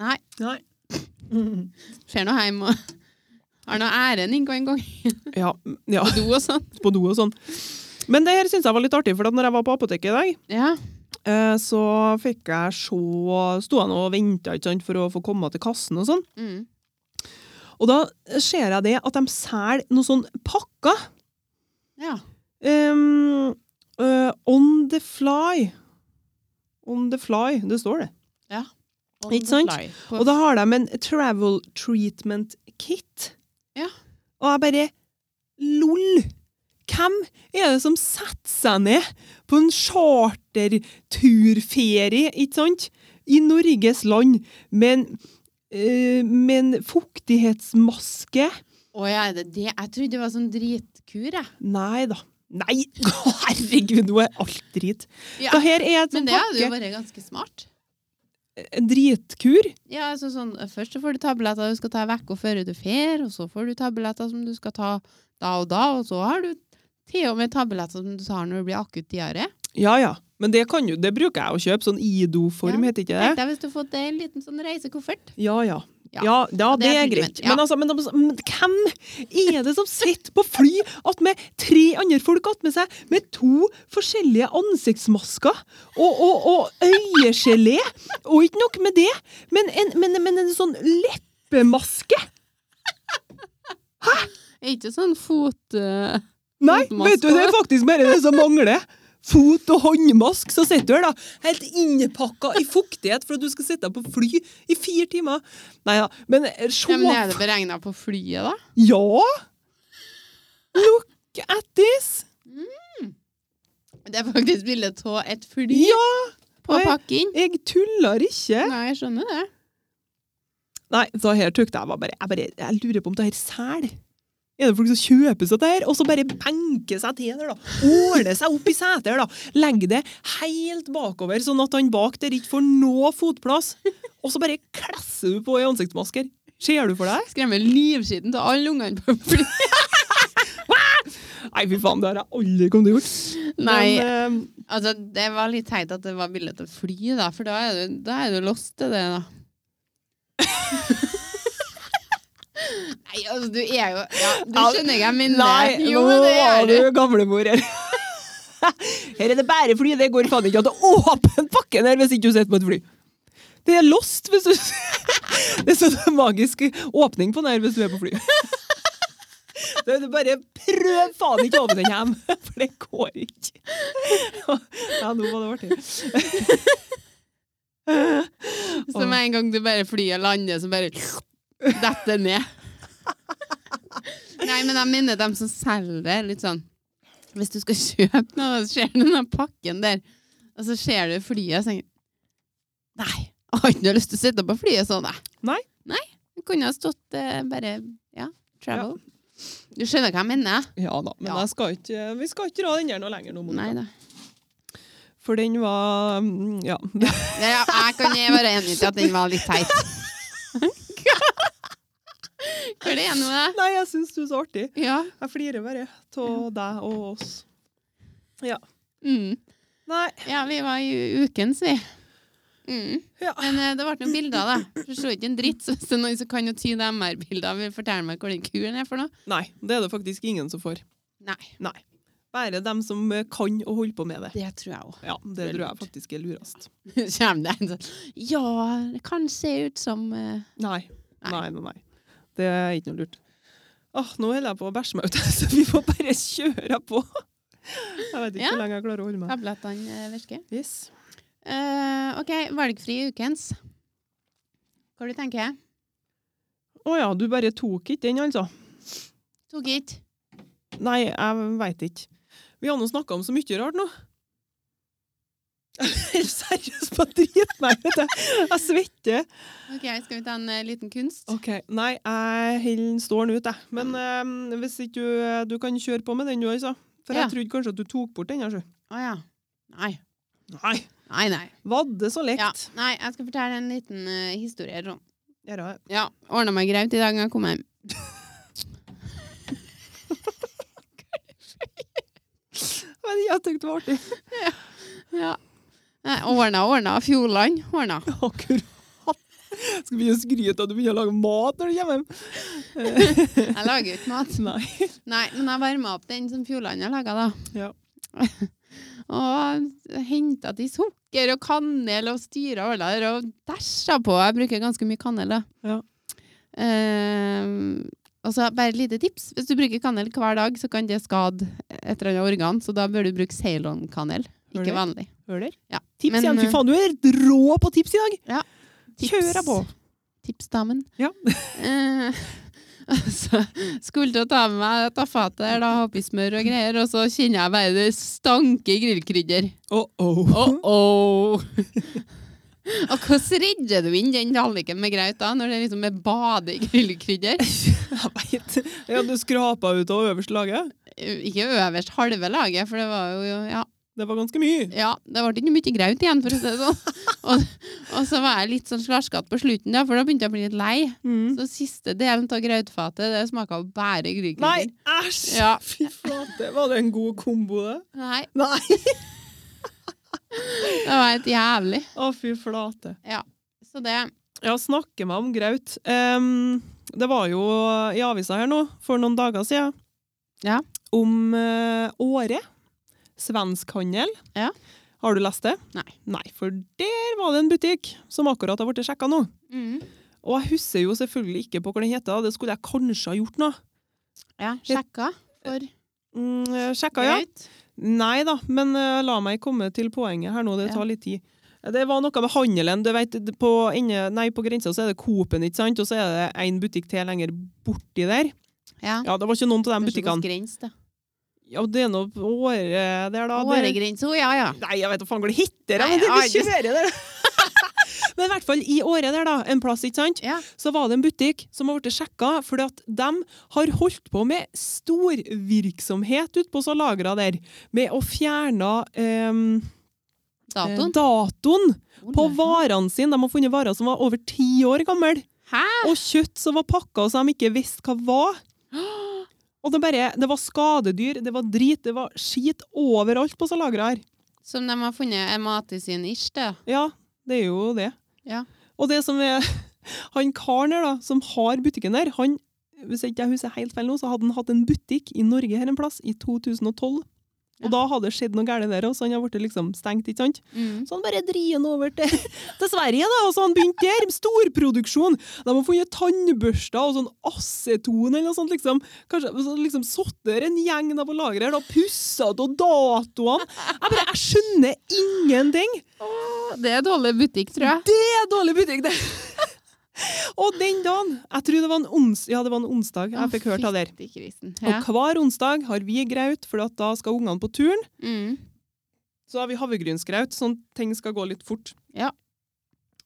Speaker 1: Nei.
Speaker 2: Nei.
Speaker 1: Ser nå hjem og har nå æren innpå en gang.
Speaker 2: Ja, ja,
Speaker 1: På do og sånn.
Speaker 2: på do og sånn. Men det her syns jeg var litt artig, for at når jeg var på apoteket i dag,
Speaker 1: Ja.
Speaker 2: eh, så fikk jeg se Sto jeg nå og venta for å få komme til kassen og sånn.
Speaker 1: Mm.
Speaker 2: Og da ser jeg det at de selger noen sånn pakker.
Speaker 1: Ja.
Speaker 2: Ehm, eh, on the fly. On the fly, det står det.
Speaker 1: On
Speaker 2: Ikke
Speaker 1: the
Speaker 2: sant?
Speaker 1: fly. På-
Speaker 2: Og da har de en travel treatment kit.
Speaker 1: Ja.
Speaker 2: Og jeg bare LOL! Hvem er det som setter seg ned på en charterturferie, ikke sant, i Norges land, med en, eh, med en fuktighetsmaske?
Speaker 1: Å ja, er det det? Jeg trodde det var sånn dritkur, jeg.
Speaker 2: Nei da. Nei! Herregud, nå er alt drit.
Speaker 1: Ja.
Speaker 2: Det her er et
Speaker 1: Men
Speaker 2: sånt
Speaker 1: det hadde jo
Speaker 2: pakke.
Speaker 1: vært ganske smart.
Speaker 2: En dritkur.
Speaker 1: Ja, altså sånn, Først så får du tabletter du skal ta en uke før du fer, og så får du tabletter som du skal ta da og da, og så har du til og med tabletter som du tar når det blir akutt diaré.
Speaker 2: Ja ja. Men det, kan jo, det bruker jeg å kjøpe. Sånn Ido-form,
Speaker 1: Ja.
Speaker 2: heter ikke det?
Speaker 1: Tenk deg hvis du har fått deg en liten sånn reisekoffert.
Speaker 2: Ja, ja.
Speaker 1: Ja.
Speaker 2: Ja, ja, det,
Speaker 1: det er
Speaker 2: er
Speaker 1: fint,
Speaker 2: greit.
Speaker 1: men- ja.
Speaker 2: Men, altså, men, de- men hvem er det som sitter på fly attmed tre andre folk attmed seg med to forskjellige ansiktsmasker og, og, og øyegelé? Og ikke nok med det, men en, men, men en sånn leppemaske!
Speaker 1: Er ikke sånn fot... eh,
Speaker 2: Nei,
Speaker 1: Fotmaske
Speaker 2: vet du, det er faktisk bare det som mangler. Fot- og håndmask, så sitter du her, da. Helt innpakka i fuktighet for at du skal sitte på fly i fire timer. Nei da, men eh, se
Speaker 1: Ja, men er det beregna på flyet, da?
Speaker 2: Ja! Look at this!
Speaker 1: Det er faktisk bilde av et fly
Speaker 2: Ja,
Speaker 1: på
Speaker 2: nei.
Speaker 1: pakken.
Speaker 2: jeg tuller ikke.
Speaker 1: Nei, jeg skjønner det.
Speaker 2: Nei, så her tykte jeg var bare Jeg, bare, jeg lurer på om det her sel. Er det folk som kjøper seg det her, og så bare benker seg til der, da? Ordner seg opp i setet her, da. Legger det helt bakover, sånn at han bak der ikke får noe fotplass. Og så bare klesser du på i ansiktsmasker. Ser du for deg?
Speaker 1: Skremmer livskiten til alle ungene på fly.
Speaker 2: Nei, fy faen, det har jeg aldri kommet til å gjort.
Speaker 1: Nei,
Speaker 2: Men, eh,
Speaker 1: altså, det var litt teit at det var bilde av fly, da, for da er du, da er du lost til det, da. Nei, altså, du er jo ja, Du
Speaker 2: Ja,
Speaker 1: skjønner hva jeg mener.
Speaker 2: Nei,
Speaker 1: jo,
Speaker 2: nå
Speaker 1: det
Speaker 2: er
Speaker 1: gjør
Speaker 2: du
Speaker 1: du.
Speaker 2: gamlemor her. Her er det bare fly, det går faen ikke an å åpne pakken her hvis ikke du sitter på et fly. Det er lost hvis du Det er sånn magisk åpning på den her hvis du er på fly. Det er bare prøv faen ikke å åpne den hjem, for det går ikke. Ja, nå var det artig.
Speaker 1: Så med en gang du bare flyet lander, så bare detter ned. Nei, men jeg minner dem som selger det, litt sånn Hvis du skal kjøpe noe, så ser du den pakken der, og så ser du flyet, og så tenker du, Nei, jeg har ikke noe lyst til å sitte på flyet sånn, jeg.
Speaker 2: Nei.
Speaker 1: Nei, det kunne ha stått eh, bare Ja, travel.
Speaker 2: Ja.
Speaker 1: Du skjønner hva jeg mener?
Speaker 2: Ja da, men
Speaker 1: Ja.
Speaker 2: Jeg skal ikke, vi skal ikke dra den her noe lenger nå, Monica.
Speaker 1: Nei da.
Speaker 2: For den var mm, Ja.
Speaker 1: Nei, ja, jeg kan jo være enig i at den var litt teit. Hva er det nå, da?
Speaker 2: Nei, jeg syns du er så artig.
Speaker 1: Ja.
Speaker 2: Jeg flirer bare av deg og oss. Ja.
Speaker 1: Mm.
Speaker 2: Nei.
Speaker 1: Ja, vi var i ukens, vi. Mm.
Speaker 2: Ja.
Speaker 1: Men eh, det ble noen bilder, da. Du så ikke en dritt, så hvis det er noen som kan jo tyde MR-bilder, vil fortelle meg hvor den kuren er for noe.
Speaker 2: Nei, det er det faktisk ingen som får.
Speaker 1: Nei,
Speaker 2: Bare dem som eh, kan å holde på med det.
Speaker 1: det tror jeg òg.
Speaker 2: Ja, Det tror jeg faktisk er lurest.
Speaker 1: Kommer det en sånn Ja, det kan se ut som eh,
Speaker 2: Nei.
Speaker 1: Nei.
Speaker 2: Nei, nei, nei. Det er ikke noe lurt. Åh, Nå holder jeg på å bæsje meg ut, så vi får bare kjøre på. Jeg vet
Speaker 1: Ja.
Speaker 2: ikke hvor lenge jeg klarer å holde meg.
Speaker 1: tablettene eh, virker.
Speaker 2: Yes.
Speaker 1: Eh, OK, valgfri ukens. Hva du tenker du?
Speaker 2: Å ja, du bare tok ikke den, altså?
Speaker 1: Tok ikke.
Speaker 2: Nei, jeg veit ikke. Vi har nå snakka om så mye rart nå. Jeg er seriøst på drit, nei, vet du. Jeg svetter.
Speaker 1: OK, skal vi ta en eh, liten kunst?
Speaker 2: Ok, Nei, jeg holder den stående ut, jeg. Men eh, hvis ikke du, du kan kjøre på med den du, altså. For
Speaker 1: Ja.
Speaker 2: jeg trodde kanskje at du tok bort den. Altså.
Speaker 1: Å ja. Nei.
Speaker 2: Nei,
Speaker 1: Nei, nei.
Speaker 2: vadde så
Speaker 1: Ja,
Speaker 2: lekt.
Speaker 1: nei. Jeg skal fortelle en liten eh, historie. Sånn.
Speaker 2: Ja. da.
Speaker 1: Ja, ordna meg greit i dag når jeg kom hjem.
Speaker 2: Men jeg tenkte det var artig.
Speaker 1: Ja. Nei, Ordna, ordna. Fjordland, ordna.
Speaker 2: Akkurat. Skal begynne å skryte av at du begynner å lage mat når du kommer hjem.
Speaker 1: Jeg lager jo ikke mat.
Speaker 2: Nei.
Speaker 1: Nei, men jeg varma opp den som Fjordland har laga, da.
Speaker 2: Ja.
Speaker 1: Og henta til sukker og kanel og styra og der og dæsja på. Jeg bruker ganske mye kanel, da.
Speaker 2: Ja.
Speaker 1: Ehm, og så bare et lite tips. Hvis du bruker kanel hver dag, så kan det skade et eller annet organ, så da bør du bruke Ceylon-kanel.
Speaker 2: Hører du?
Speaker 1: Ikke vanlig.
Speaker 2: Høler?
Speaker 1: Ja.
Speaker 2: Tips
Speaker 1: Men,
Speaker 2: igjen! Fy
Speaker 1: eh,
Speaker 2: faen, du er helt rå på tips i dag!
Speaker 1: Tips.
Speaker 2: Kjører på!
Speaker 1: tipsdamen.
Speaker 2: Ja.
Speaker 1: Eh, altså, skulle til å ta med meg dette fatet her, da, ha oppi smør og greier, og så kjenner jeg bare det stanker grillkrydder.
Speaker 2: Oh, oh.
Speaker 1: Oh-oh! og hvordan redder du inn den halliken med graut da, når det liksom er bade i grillkrydder?
Speaker 2: Jeg vet. Ja, du skrapa ut av øverste laget.
Speaker 1: Ikke øverst halve laget, for det var jo ja,
Speaker 2: Det var ganske mye.
Speaker 1: ja, det ble ikke mye graut igjen, for å si det sånn. Og, og så var jeg litt sånn slarskete på slutten, da, for da begynte jeg å bli litt lei.
Speaker 2: Mm.
Speaker 1: Så siste delen av grautfatet, det smaka bare grillkrydder.
Speaker 2: Nei, æsj!
Speaker 1: Ja.
Speaker 2: Fy flate, var det en god kombo, det?
Speaker 1: Nei,
Speaker 2: Nei!
Speaker 1: det var helt jævlig.
Speaker 2: Å, fy flate.
Speaker 1: Så det
Speaker 2: Ja, snakke meg om graut. Em, det var jo i avisa her nå, for noen dager siden,
Speaker 1: Ja.
Speaker 2: om eh, Åre. Svensk handel.
Speaker 1: Ja.
Speaker 2: Har du lest det?
Speaker 1: Nei.
Speaker 2: Nei, for der var det en butikk som akkurat har blitt sjekka nå.
Speaker 1: mm.
Speaker 2: Og jeg husker jo selvfølgelig ikke på hva den heter, det skulle jeg kanskje ha gjort nå.
Speaker 1: Ja, sjekka for
Speaker 2: Mm, eh, sjekka, ja.
Speaker 1: grøt.
Speaker 2: Nei da, men eh, la meg komme til poenget her nå, det tar litt tid. Eh, Det var noe med handelen. du vet, det- På, inne, nei, på grensa så er det Coop-en, ikke sant? Og så er det en butikk til lenger borti der.
Speaker 1: Ja.
Speaker 2: Ja, det var ikke noen av de
Speaker 1: Kanskje hos
Speaker 2: butikkene.
Speaker 1: Grens, da.
Speaker 2: Ja, det er noe på Åre der, da. Der-
Speaker 1: Åregrense, å ja, ja.
Speaker 2: Nei, jeg vet da faen hva det heter!
Speaker 1: Nei,
Speaker 2: Men det blir
Speaker 1: jeg
Speaker 2: kjøre der! Men i hvert fall i Åre der, da, en plass, ikke sant?
Speaker 1: Ja.
Speaker 2: så var det en butikk som har blitt sjekka fordi at de har holdt på med storvirksomhet ute på så lagra der, med å fjerne em, eh,
Speaker 1: Datoen.
Speaker 2: datoen Eh, på
Speaker 1: Ole.
Speaker 2: varene sine. De har funnet varer som var over ti år gamle,
Speaker 1: Hæ?
Speaker 2: og kjøtt som var pakka så de ikke visste hva var. Og det, bare, det var skadedyr, det var drit, det var skit overalt på så lagra her.
Speaker 1: Som de har funnet en mat i sin ish, det.
Speaker 2: Ja, det er jo det.
Speaker 1: Ja.
Speaker 2: Og det som er Han karen her, da, som har butikken der, han hvis ikke jeg husker helt feil nå, så hadde han hatt en butikk i Norge her en plass i 2012. Og
Speaker 1: Ja.
Speaker 2: da hadde det skjedd noe galt der òg, så han har blitt liksom stengt, ikke sant?
Speaker 1: Mm.
Speaker 2: Så han bare drier han over til, til Sverige, da, og så han begynte der. Storproduksjon! De har funnet tannbørster og sånn aceton eller noe sånt, liksom. Kanskje så liksom satt der en gjeng da på lageret her, da, pussa ut og datoene. Jeg bare, jeg skjønner ingenting!
Speaker 1: Det er dårlig butikk, tror jeg.
Speaker 2: Det er dårlig butikk, det! og den dagen Jeg tror det var en, ons ja, det var en onsdag jeg fikk hørt av der.
Speaker 1: Fytti grisen. Ja.
Speaker 2: Og hver onsdag har vi graut, for at da skal ungene på turen.
Speaker 1: Mm.
Speaker 2: Så har vi havregrynsgraut, sånn ting skal gå litt fort.
Speaker 1: Ja.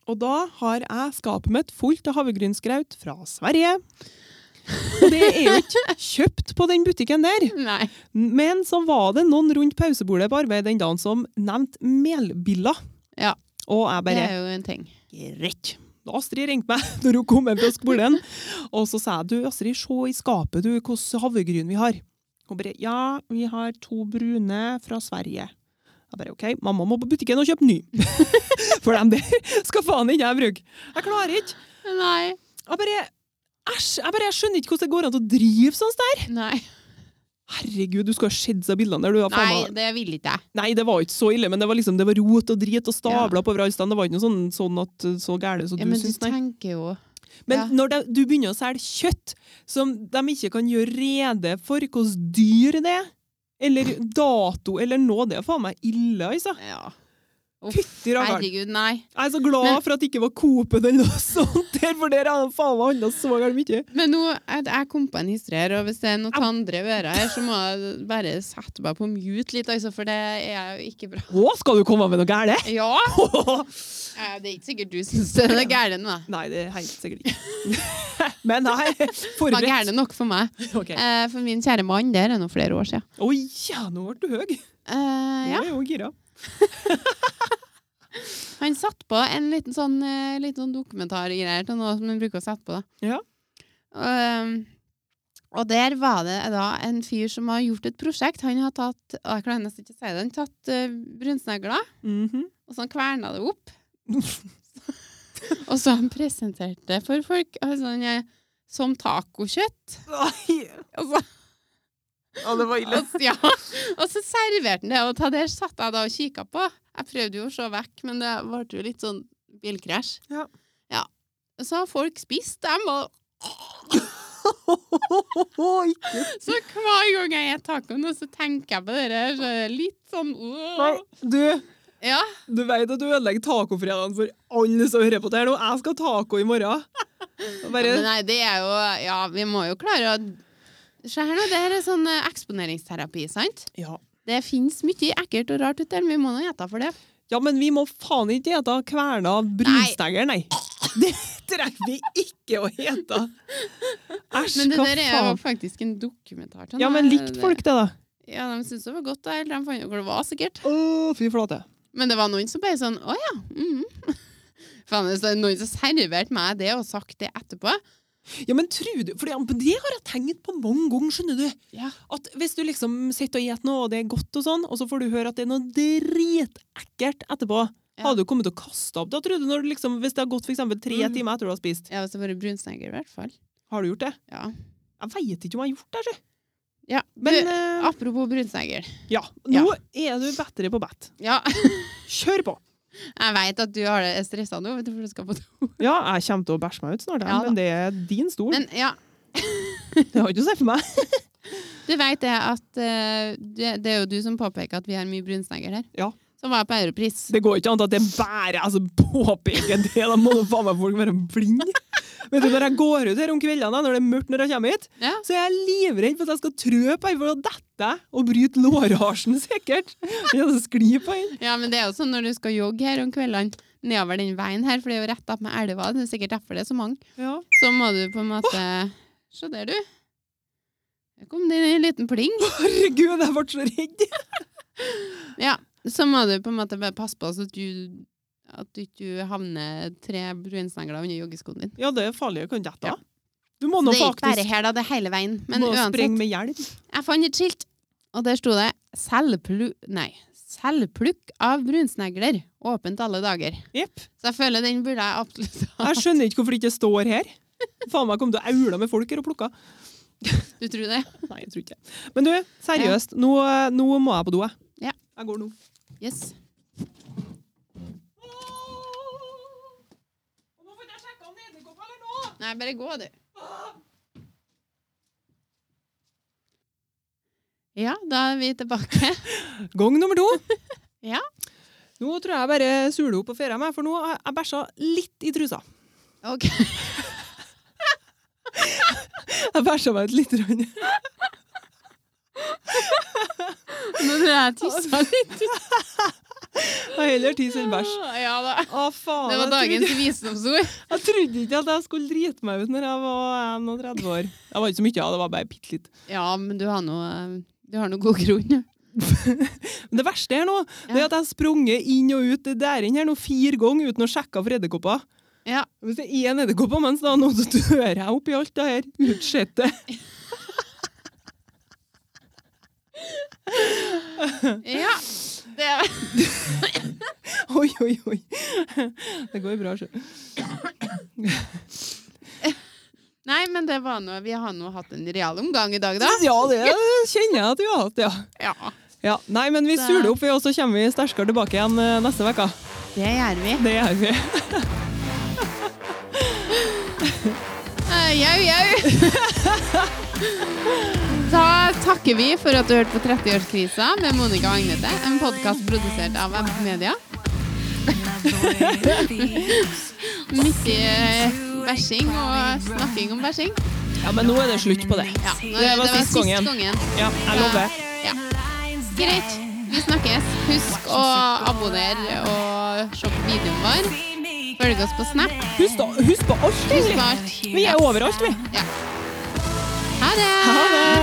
Speaker 2: Og da har jeg skapet mitt fullt av havregrynsgraut fra Sverige. Og det er jo ikke kjøpt på den butikken der.
Speaker 1: Nei.
Speaker 2: Men så var det noen rundt pausebordet på arbeid den dagen som nevnte melbiller.
Speaker 1: Ja.
Speaker 2: Og jeg
Speaker 1: Det
Speaker 2: bare
Speaker 1: er jo en ting.
Speaker 2: Greit. Da Astrid ringte meg når hun kom hjem fra skolen, og så sa jeg du, Astrid, se i skapet du, hvordan havregryn vi har. Hun bare ja, vi har to brune fra Sverige. Jeg bare OK, mamma må på butikken og kjøpe ny. For dem der skal faen ikke jeg bruke. Jeg klarer ikke.
Speaker 1: Nei.
Speaker 2: Jeg bare Æsj! Jeg bare jeg skjønner ikke hvordan det går an å drive sånn der.
Speaker 1: Nei,
Speaker 2: Herregud, du skulle ha sett seg bildene der. du har faen
Speaker 1: Nei
Speaker 2: meg-
Speaker 1: det vil ikke jeg.
Speaker 2: Nei, det var ikke så ille, men det var liksom, det var rot og drit og stabler på overalt. Det var ikke noe sånn, sånn at uh, så gære som
Speaker 1: Ja,
Speaker 2: du
Speaker 1: men du
Speaker 2: syns, nei.
Speaker 1: tenker jo
Speaker 2: Men
Speaker 1: Ja.
Speaker 2: når de, du begynner å selge kjøtt som de ikke kan gjøre rede for hvordan dyr det er, eller dato eller noe, det er faen meg ille, altså.
Speaker 1: Ja.
Speaker 2: Fytti rakkeren.
Speaker 1: Herregud, nei.
Speaker 2: Jeg er så glad
Speaker 1: Men-
Speaker 2: for at det ikke var Coop eller noe sånt der, for der har de faen meg handla så galt mye.
Speaker 1: Men nå, jeg, jeg kom på en historie her, og hvis det er noen andre ører her, så må jeg bare sette meg på mute litt, altså, for det er jo ikke bra.
Speaker 2: Å, skal du komme med noe gærent?
Speaker 1: Ja! Eh, Det er ikke sikkert du syns det er gærent, da.
Speaker 2: Nei, det er helt sikkert ikke. Men nei,
Speaker 1: Det var
Speaker 2: forberedt.
Speaker 1: gærent nok for meg.
Speaker 2: Ok.
Speaker 1: Eh, For min kjære mann, det er nå flere år siden.
Speaker 2: Oi, ja, nå ble du høy.
Speaker 1: Eh,
Speaker 2: Nå
Speaker 1: ja.
Speaker 2: er jeg jo gira.
Speaker 1: Han satt på en liten sånn, eh, liten sånn dokumentargreier til noe som han bruker å sette på. Da.
Speaker 2: Ja.
Speaker 1: Um, og der var det da en fyr som har gjort et prosjekt. Han har tatt å, jeg klarer nesten ikke å si det, han har tatt eh, brunsnegler,
Speaker 2: Mhm.
Speaker 1: og så han kverna det opp. og så har han presentert det for folk altså, han er, som tacokjøtt.
Speaker 2: Nei,
Speaker 1: Og så-
Speaker 4: Ja, det var ille.
Speaker 1: Og, ja. og så serverte han det, og ta det satt jeg da og kikka på. Jeg prøvde jo å se vekk, men det ble jo litt sånn bilkrasj.
Speaker 2: Ja.
Speaker 1: Ja. Så har folk spist dem, og
Speaker 2: Ikke
Speaker 1: så hver gang jeg spiser tacoen, og så tenker jeg på det der, så er det litt sånn øh.
Speaker 2: Nei, du,
Speaker 1: Ja.
Speaker 2: du vet at du ødelegger tacofredagen for alle som hører på det her nå. Jeg skal ha taco i morgen. Bare,
Speaker 1: Men nei, det er jo Ja, vi må jo klare å Se her nå, det her er sånn eh, eksponeringsterapi, sant?
Speaker 2: ja.
Speaker 1: Det fins mye ekkelt og rart ute der, men vi må nå gjette for det.
Speaker 2: ja, men vi må faen ikke ete kverna brunstenger, nei. Det trenger vi ikke å ete. Æsj,
Speaker 1: Men det
Speaker 2: hva
Speaker 1: der er jo
Speaker 2: faen.
Speaker 1: faktisk en dokumentar. til
Speaker 2: Ja,
Speaker 1: den
Speaker 2: men
Speaker 1: her.
Speaker 2: likte folk det, da?
Speaker 1: Ja, de syntes det var godt, da. Eller de fant jo hvor det var, sikkert.
Speaker 2: Å, fy flate.
Speaker 1: Men det var noen som bare sånn Å ja. mhm». Faen, hvis det er sånn noen som serverte meg det og sagt det etterpå
Speaker 2: Ja, men tror du For det, det har jeg tenkt på mange ganger, skjønner du.
Speaker 1: Ja.
Speaker 2: At hvis du liksom sitter og spiser noe, og det er godt og sånn, og så får du høre at det er noe dritekkelt etterpå,
Speaker 1: Ja.
Speaker 2: hadde du kommet til å kaste opp da, tror du, når du liksom, hvis det har gått for eksempel tre
Speaker 1: Mhm.
Speaker 2: timer etter du har spist?
Speaker 1: Ja, hvis det var en brunsneger, i hvert fall.
Speaker 2: Har du gjort det?
Speaker 1: Ja.
Speaker 2: Jeg veit ikke om jeg har gjort det, sjø.
Speaker 1: ja.
Speaker 2: Men
Speaker 1: du,
Speaker 2: eh,
Speaker 1: apropos brunsneger.
Speaker 2: ja, nå er du bedre på bett.
Speaker 1: Ja,
Speaker 2: Kjør på!
Speaker 1: jeg veit at du har det stressa nå, vet du, for du skal på do.
Speaker 2: Ja, jeg kommer til å bæsje meg ut snart, jeg,
Speaker 1: Ja da.
Speaker 2: men det er din stol.
Speaker 1: Men ja,
Speaker 2: Det har ikke å si for meg.
Speaker 1: du veit det at eh, det, det er jo du som påpeker at vi har mye brunsneger her.
Speaker 2: Ja.
Speaker 1: Som var jeg på Europris.
Speaker 2: Det går ikke an at det er bare jeg som påpeker det. Da må da faen meg folk være blinde. Vet du, Når jeg går ut her om kveldene, når det er mørkt når jeg kommer hit,
Speaker 1: Ja.
Speaker 2: så er jeg livredd for at jeg skal trø på ei, for da detter jeg og bryter lårhalsen sikkert. Ja, det sklir på en.
Speaker 1: Ja, men det er jo sånn når du skal jogge her om kveldene nedover den veien her, for det er jo rett opp med elva, det er sikkert derfor det er så mange,
Speaker 2: Ja.
Speaker 1: så må du på en måte Se der, du. Der kom det en liten pling.
Speaker 2: Herregud, jeg ble så redd.
Speaker 1: Ja. Så må du på en måte bare passe på så at du at du ikke havner tre brunsnegler under joggeskoen din.
Speaker 2: Ja, det er farlig. Jeg kan dette.
Speaker 1: Ja.
Speaker 2: av. Du må
Speaker 1: Så
Speaker 2: nå
Speaker 1: det er ikke bare
Speaker 2: faktisk
Speaker 1: her, da. Det er hele veien. Men
Speaker 2: må
Speaker 1: uansett,
Speaker 2: springe med hjelm.
Speaker 1: jeg fant et skilt, og der sto det 'Selvplu... Nei. Selvplukk av brunsnegler. Åpent alle dager'.
Speaker 2: Jepp.
Speaker 1: Så jeg føler den burde jeg absolutt ha.
Speaker 2: Jeg skjønner ikke hvorfor det ikke står her. Faen meg, jeg kom til å aule med folk her og plukka.
Speaker 1: Du tror det?
Speaker 2: Nei, jeg tror ikke det. Men du, seriøst, nå, eh, nå må jeg på do, jeg.
Speaker 1: Ja.
Speaker 2: Jeg går nå.
Speaker 1: Yes. Nei, bare gå, du. Ja, da er vi tilbake.
Speaker 2: Gang nummer to.
Speaker 1: Ja.
Speaker 2: Nå tror jeg bare suler opp og feirer meg, for nå har jeg bæsja litt i trusa.
Speaker 1: Ok.
Speaker 2: Jeg bæsja meg ut lite grann.
Speaker 1: Nå tror jeg jeg tissa litt.
Speaker 2: Jeg har heller tiss enn bæsj.
Speaker 1: Ja da.
Speaker 2: Å, faen.
Speaker 1: Det var
Speaker 2: jeg trodde-
Speaker 1: dagens visdomsord.
Speaker 2: Jeg trodde ikke at jeg skulle drite meg ut når jeg var 31 år. Det var ikke så mye, ja, det var bare bitte litt.
Speaker 1: Ja, men du har noe, du har noe god grunn.
Speaker 2: Men det verste her nå, det er
Speaker 1: Ja.
Speaker 2: at jeg har sprunget inn og ut det der inne her nå fire ganger uten å sjekke for edderkopper.
Speaker 1: Ja.
Speaker 2: Hvis det er én edderkopp på mens, da, nå så dør jeg oppi alt det her utslettet.
Speaker 1: Ja. Det,
Speaker 2: Oi, oi, oi. Det går bra, sjø.
Speaker 1: nei, men det var noe, vi har nå hatt en real omgang i dag, da.
Speaker 2: Ja, det kjenner jeg at vi har hatt, ja.
Speaker 1: Ja.
Speaker 2: ja. Nei, men vi
Speaker 1: Det-
Speaker 2: suler opp, vi, og så kommer vi sterkere tilbake igjen eh, neste uke.
Speaker 1: Det gjør vi.
Speaker 2: Det gjør vi.
Speaker 1: Eh, Jau, jau. Da takker vi for at du hørte på 30-årskrisa med Monica og Agnete, en podkast produsert av Web Media. Mye bæsjing og snakking om bæsjing.
Speaker 2: Ja, men nå er det slutt på det.
Speaker 1: Ja, nå-
Speaker 2: Det var sist gangen. Ja, jeg lover.
Speaker 1: Ja. Greit. Vi snakkes. Husk å abonnere og se på videoen vår. Følg oss på Snap.
Speaker 2: Husk, da, husk på alt,
Speaker 1: Husk på
Speaker 2: egentlig.
Speaker 1: alt.
Speaker 2: Vi er overalt, vi.
Speaker 1: Ja. Ha det!
Speaker 2: Ha det!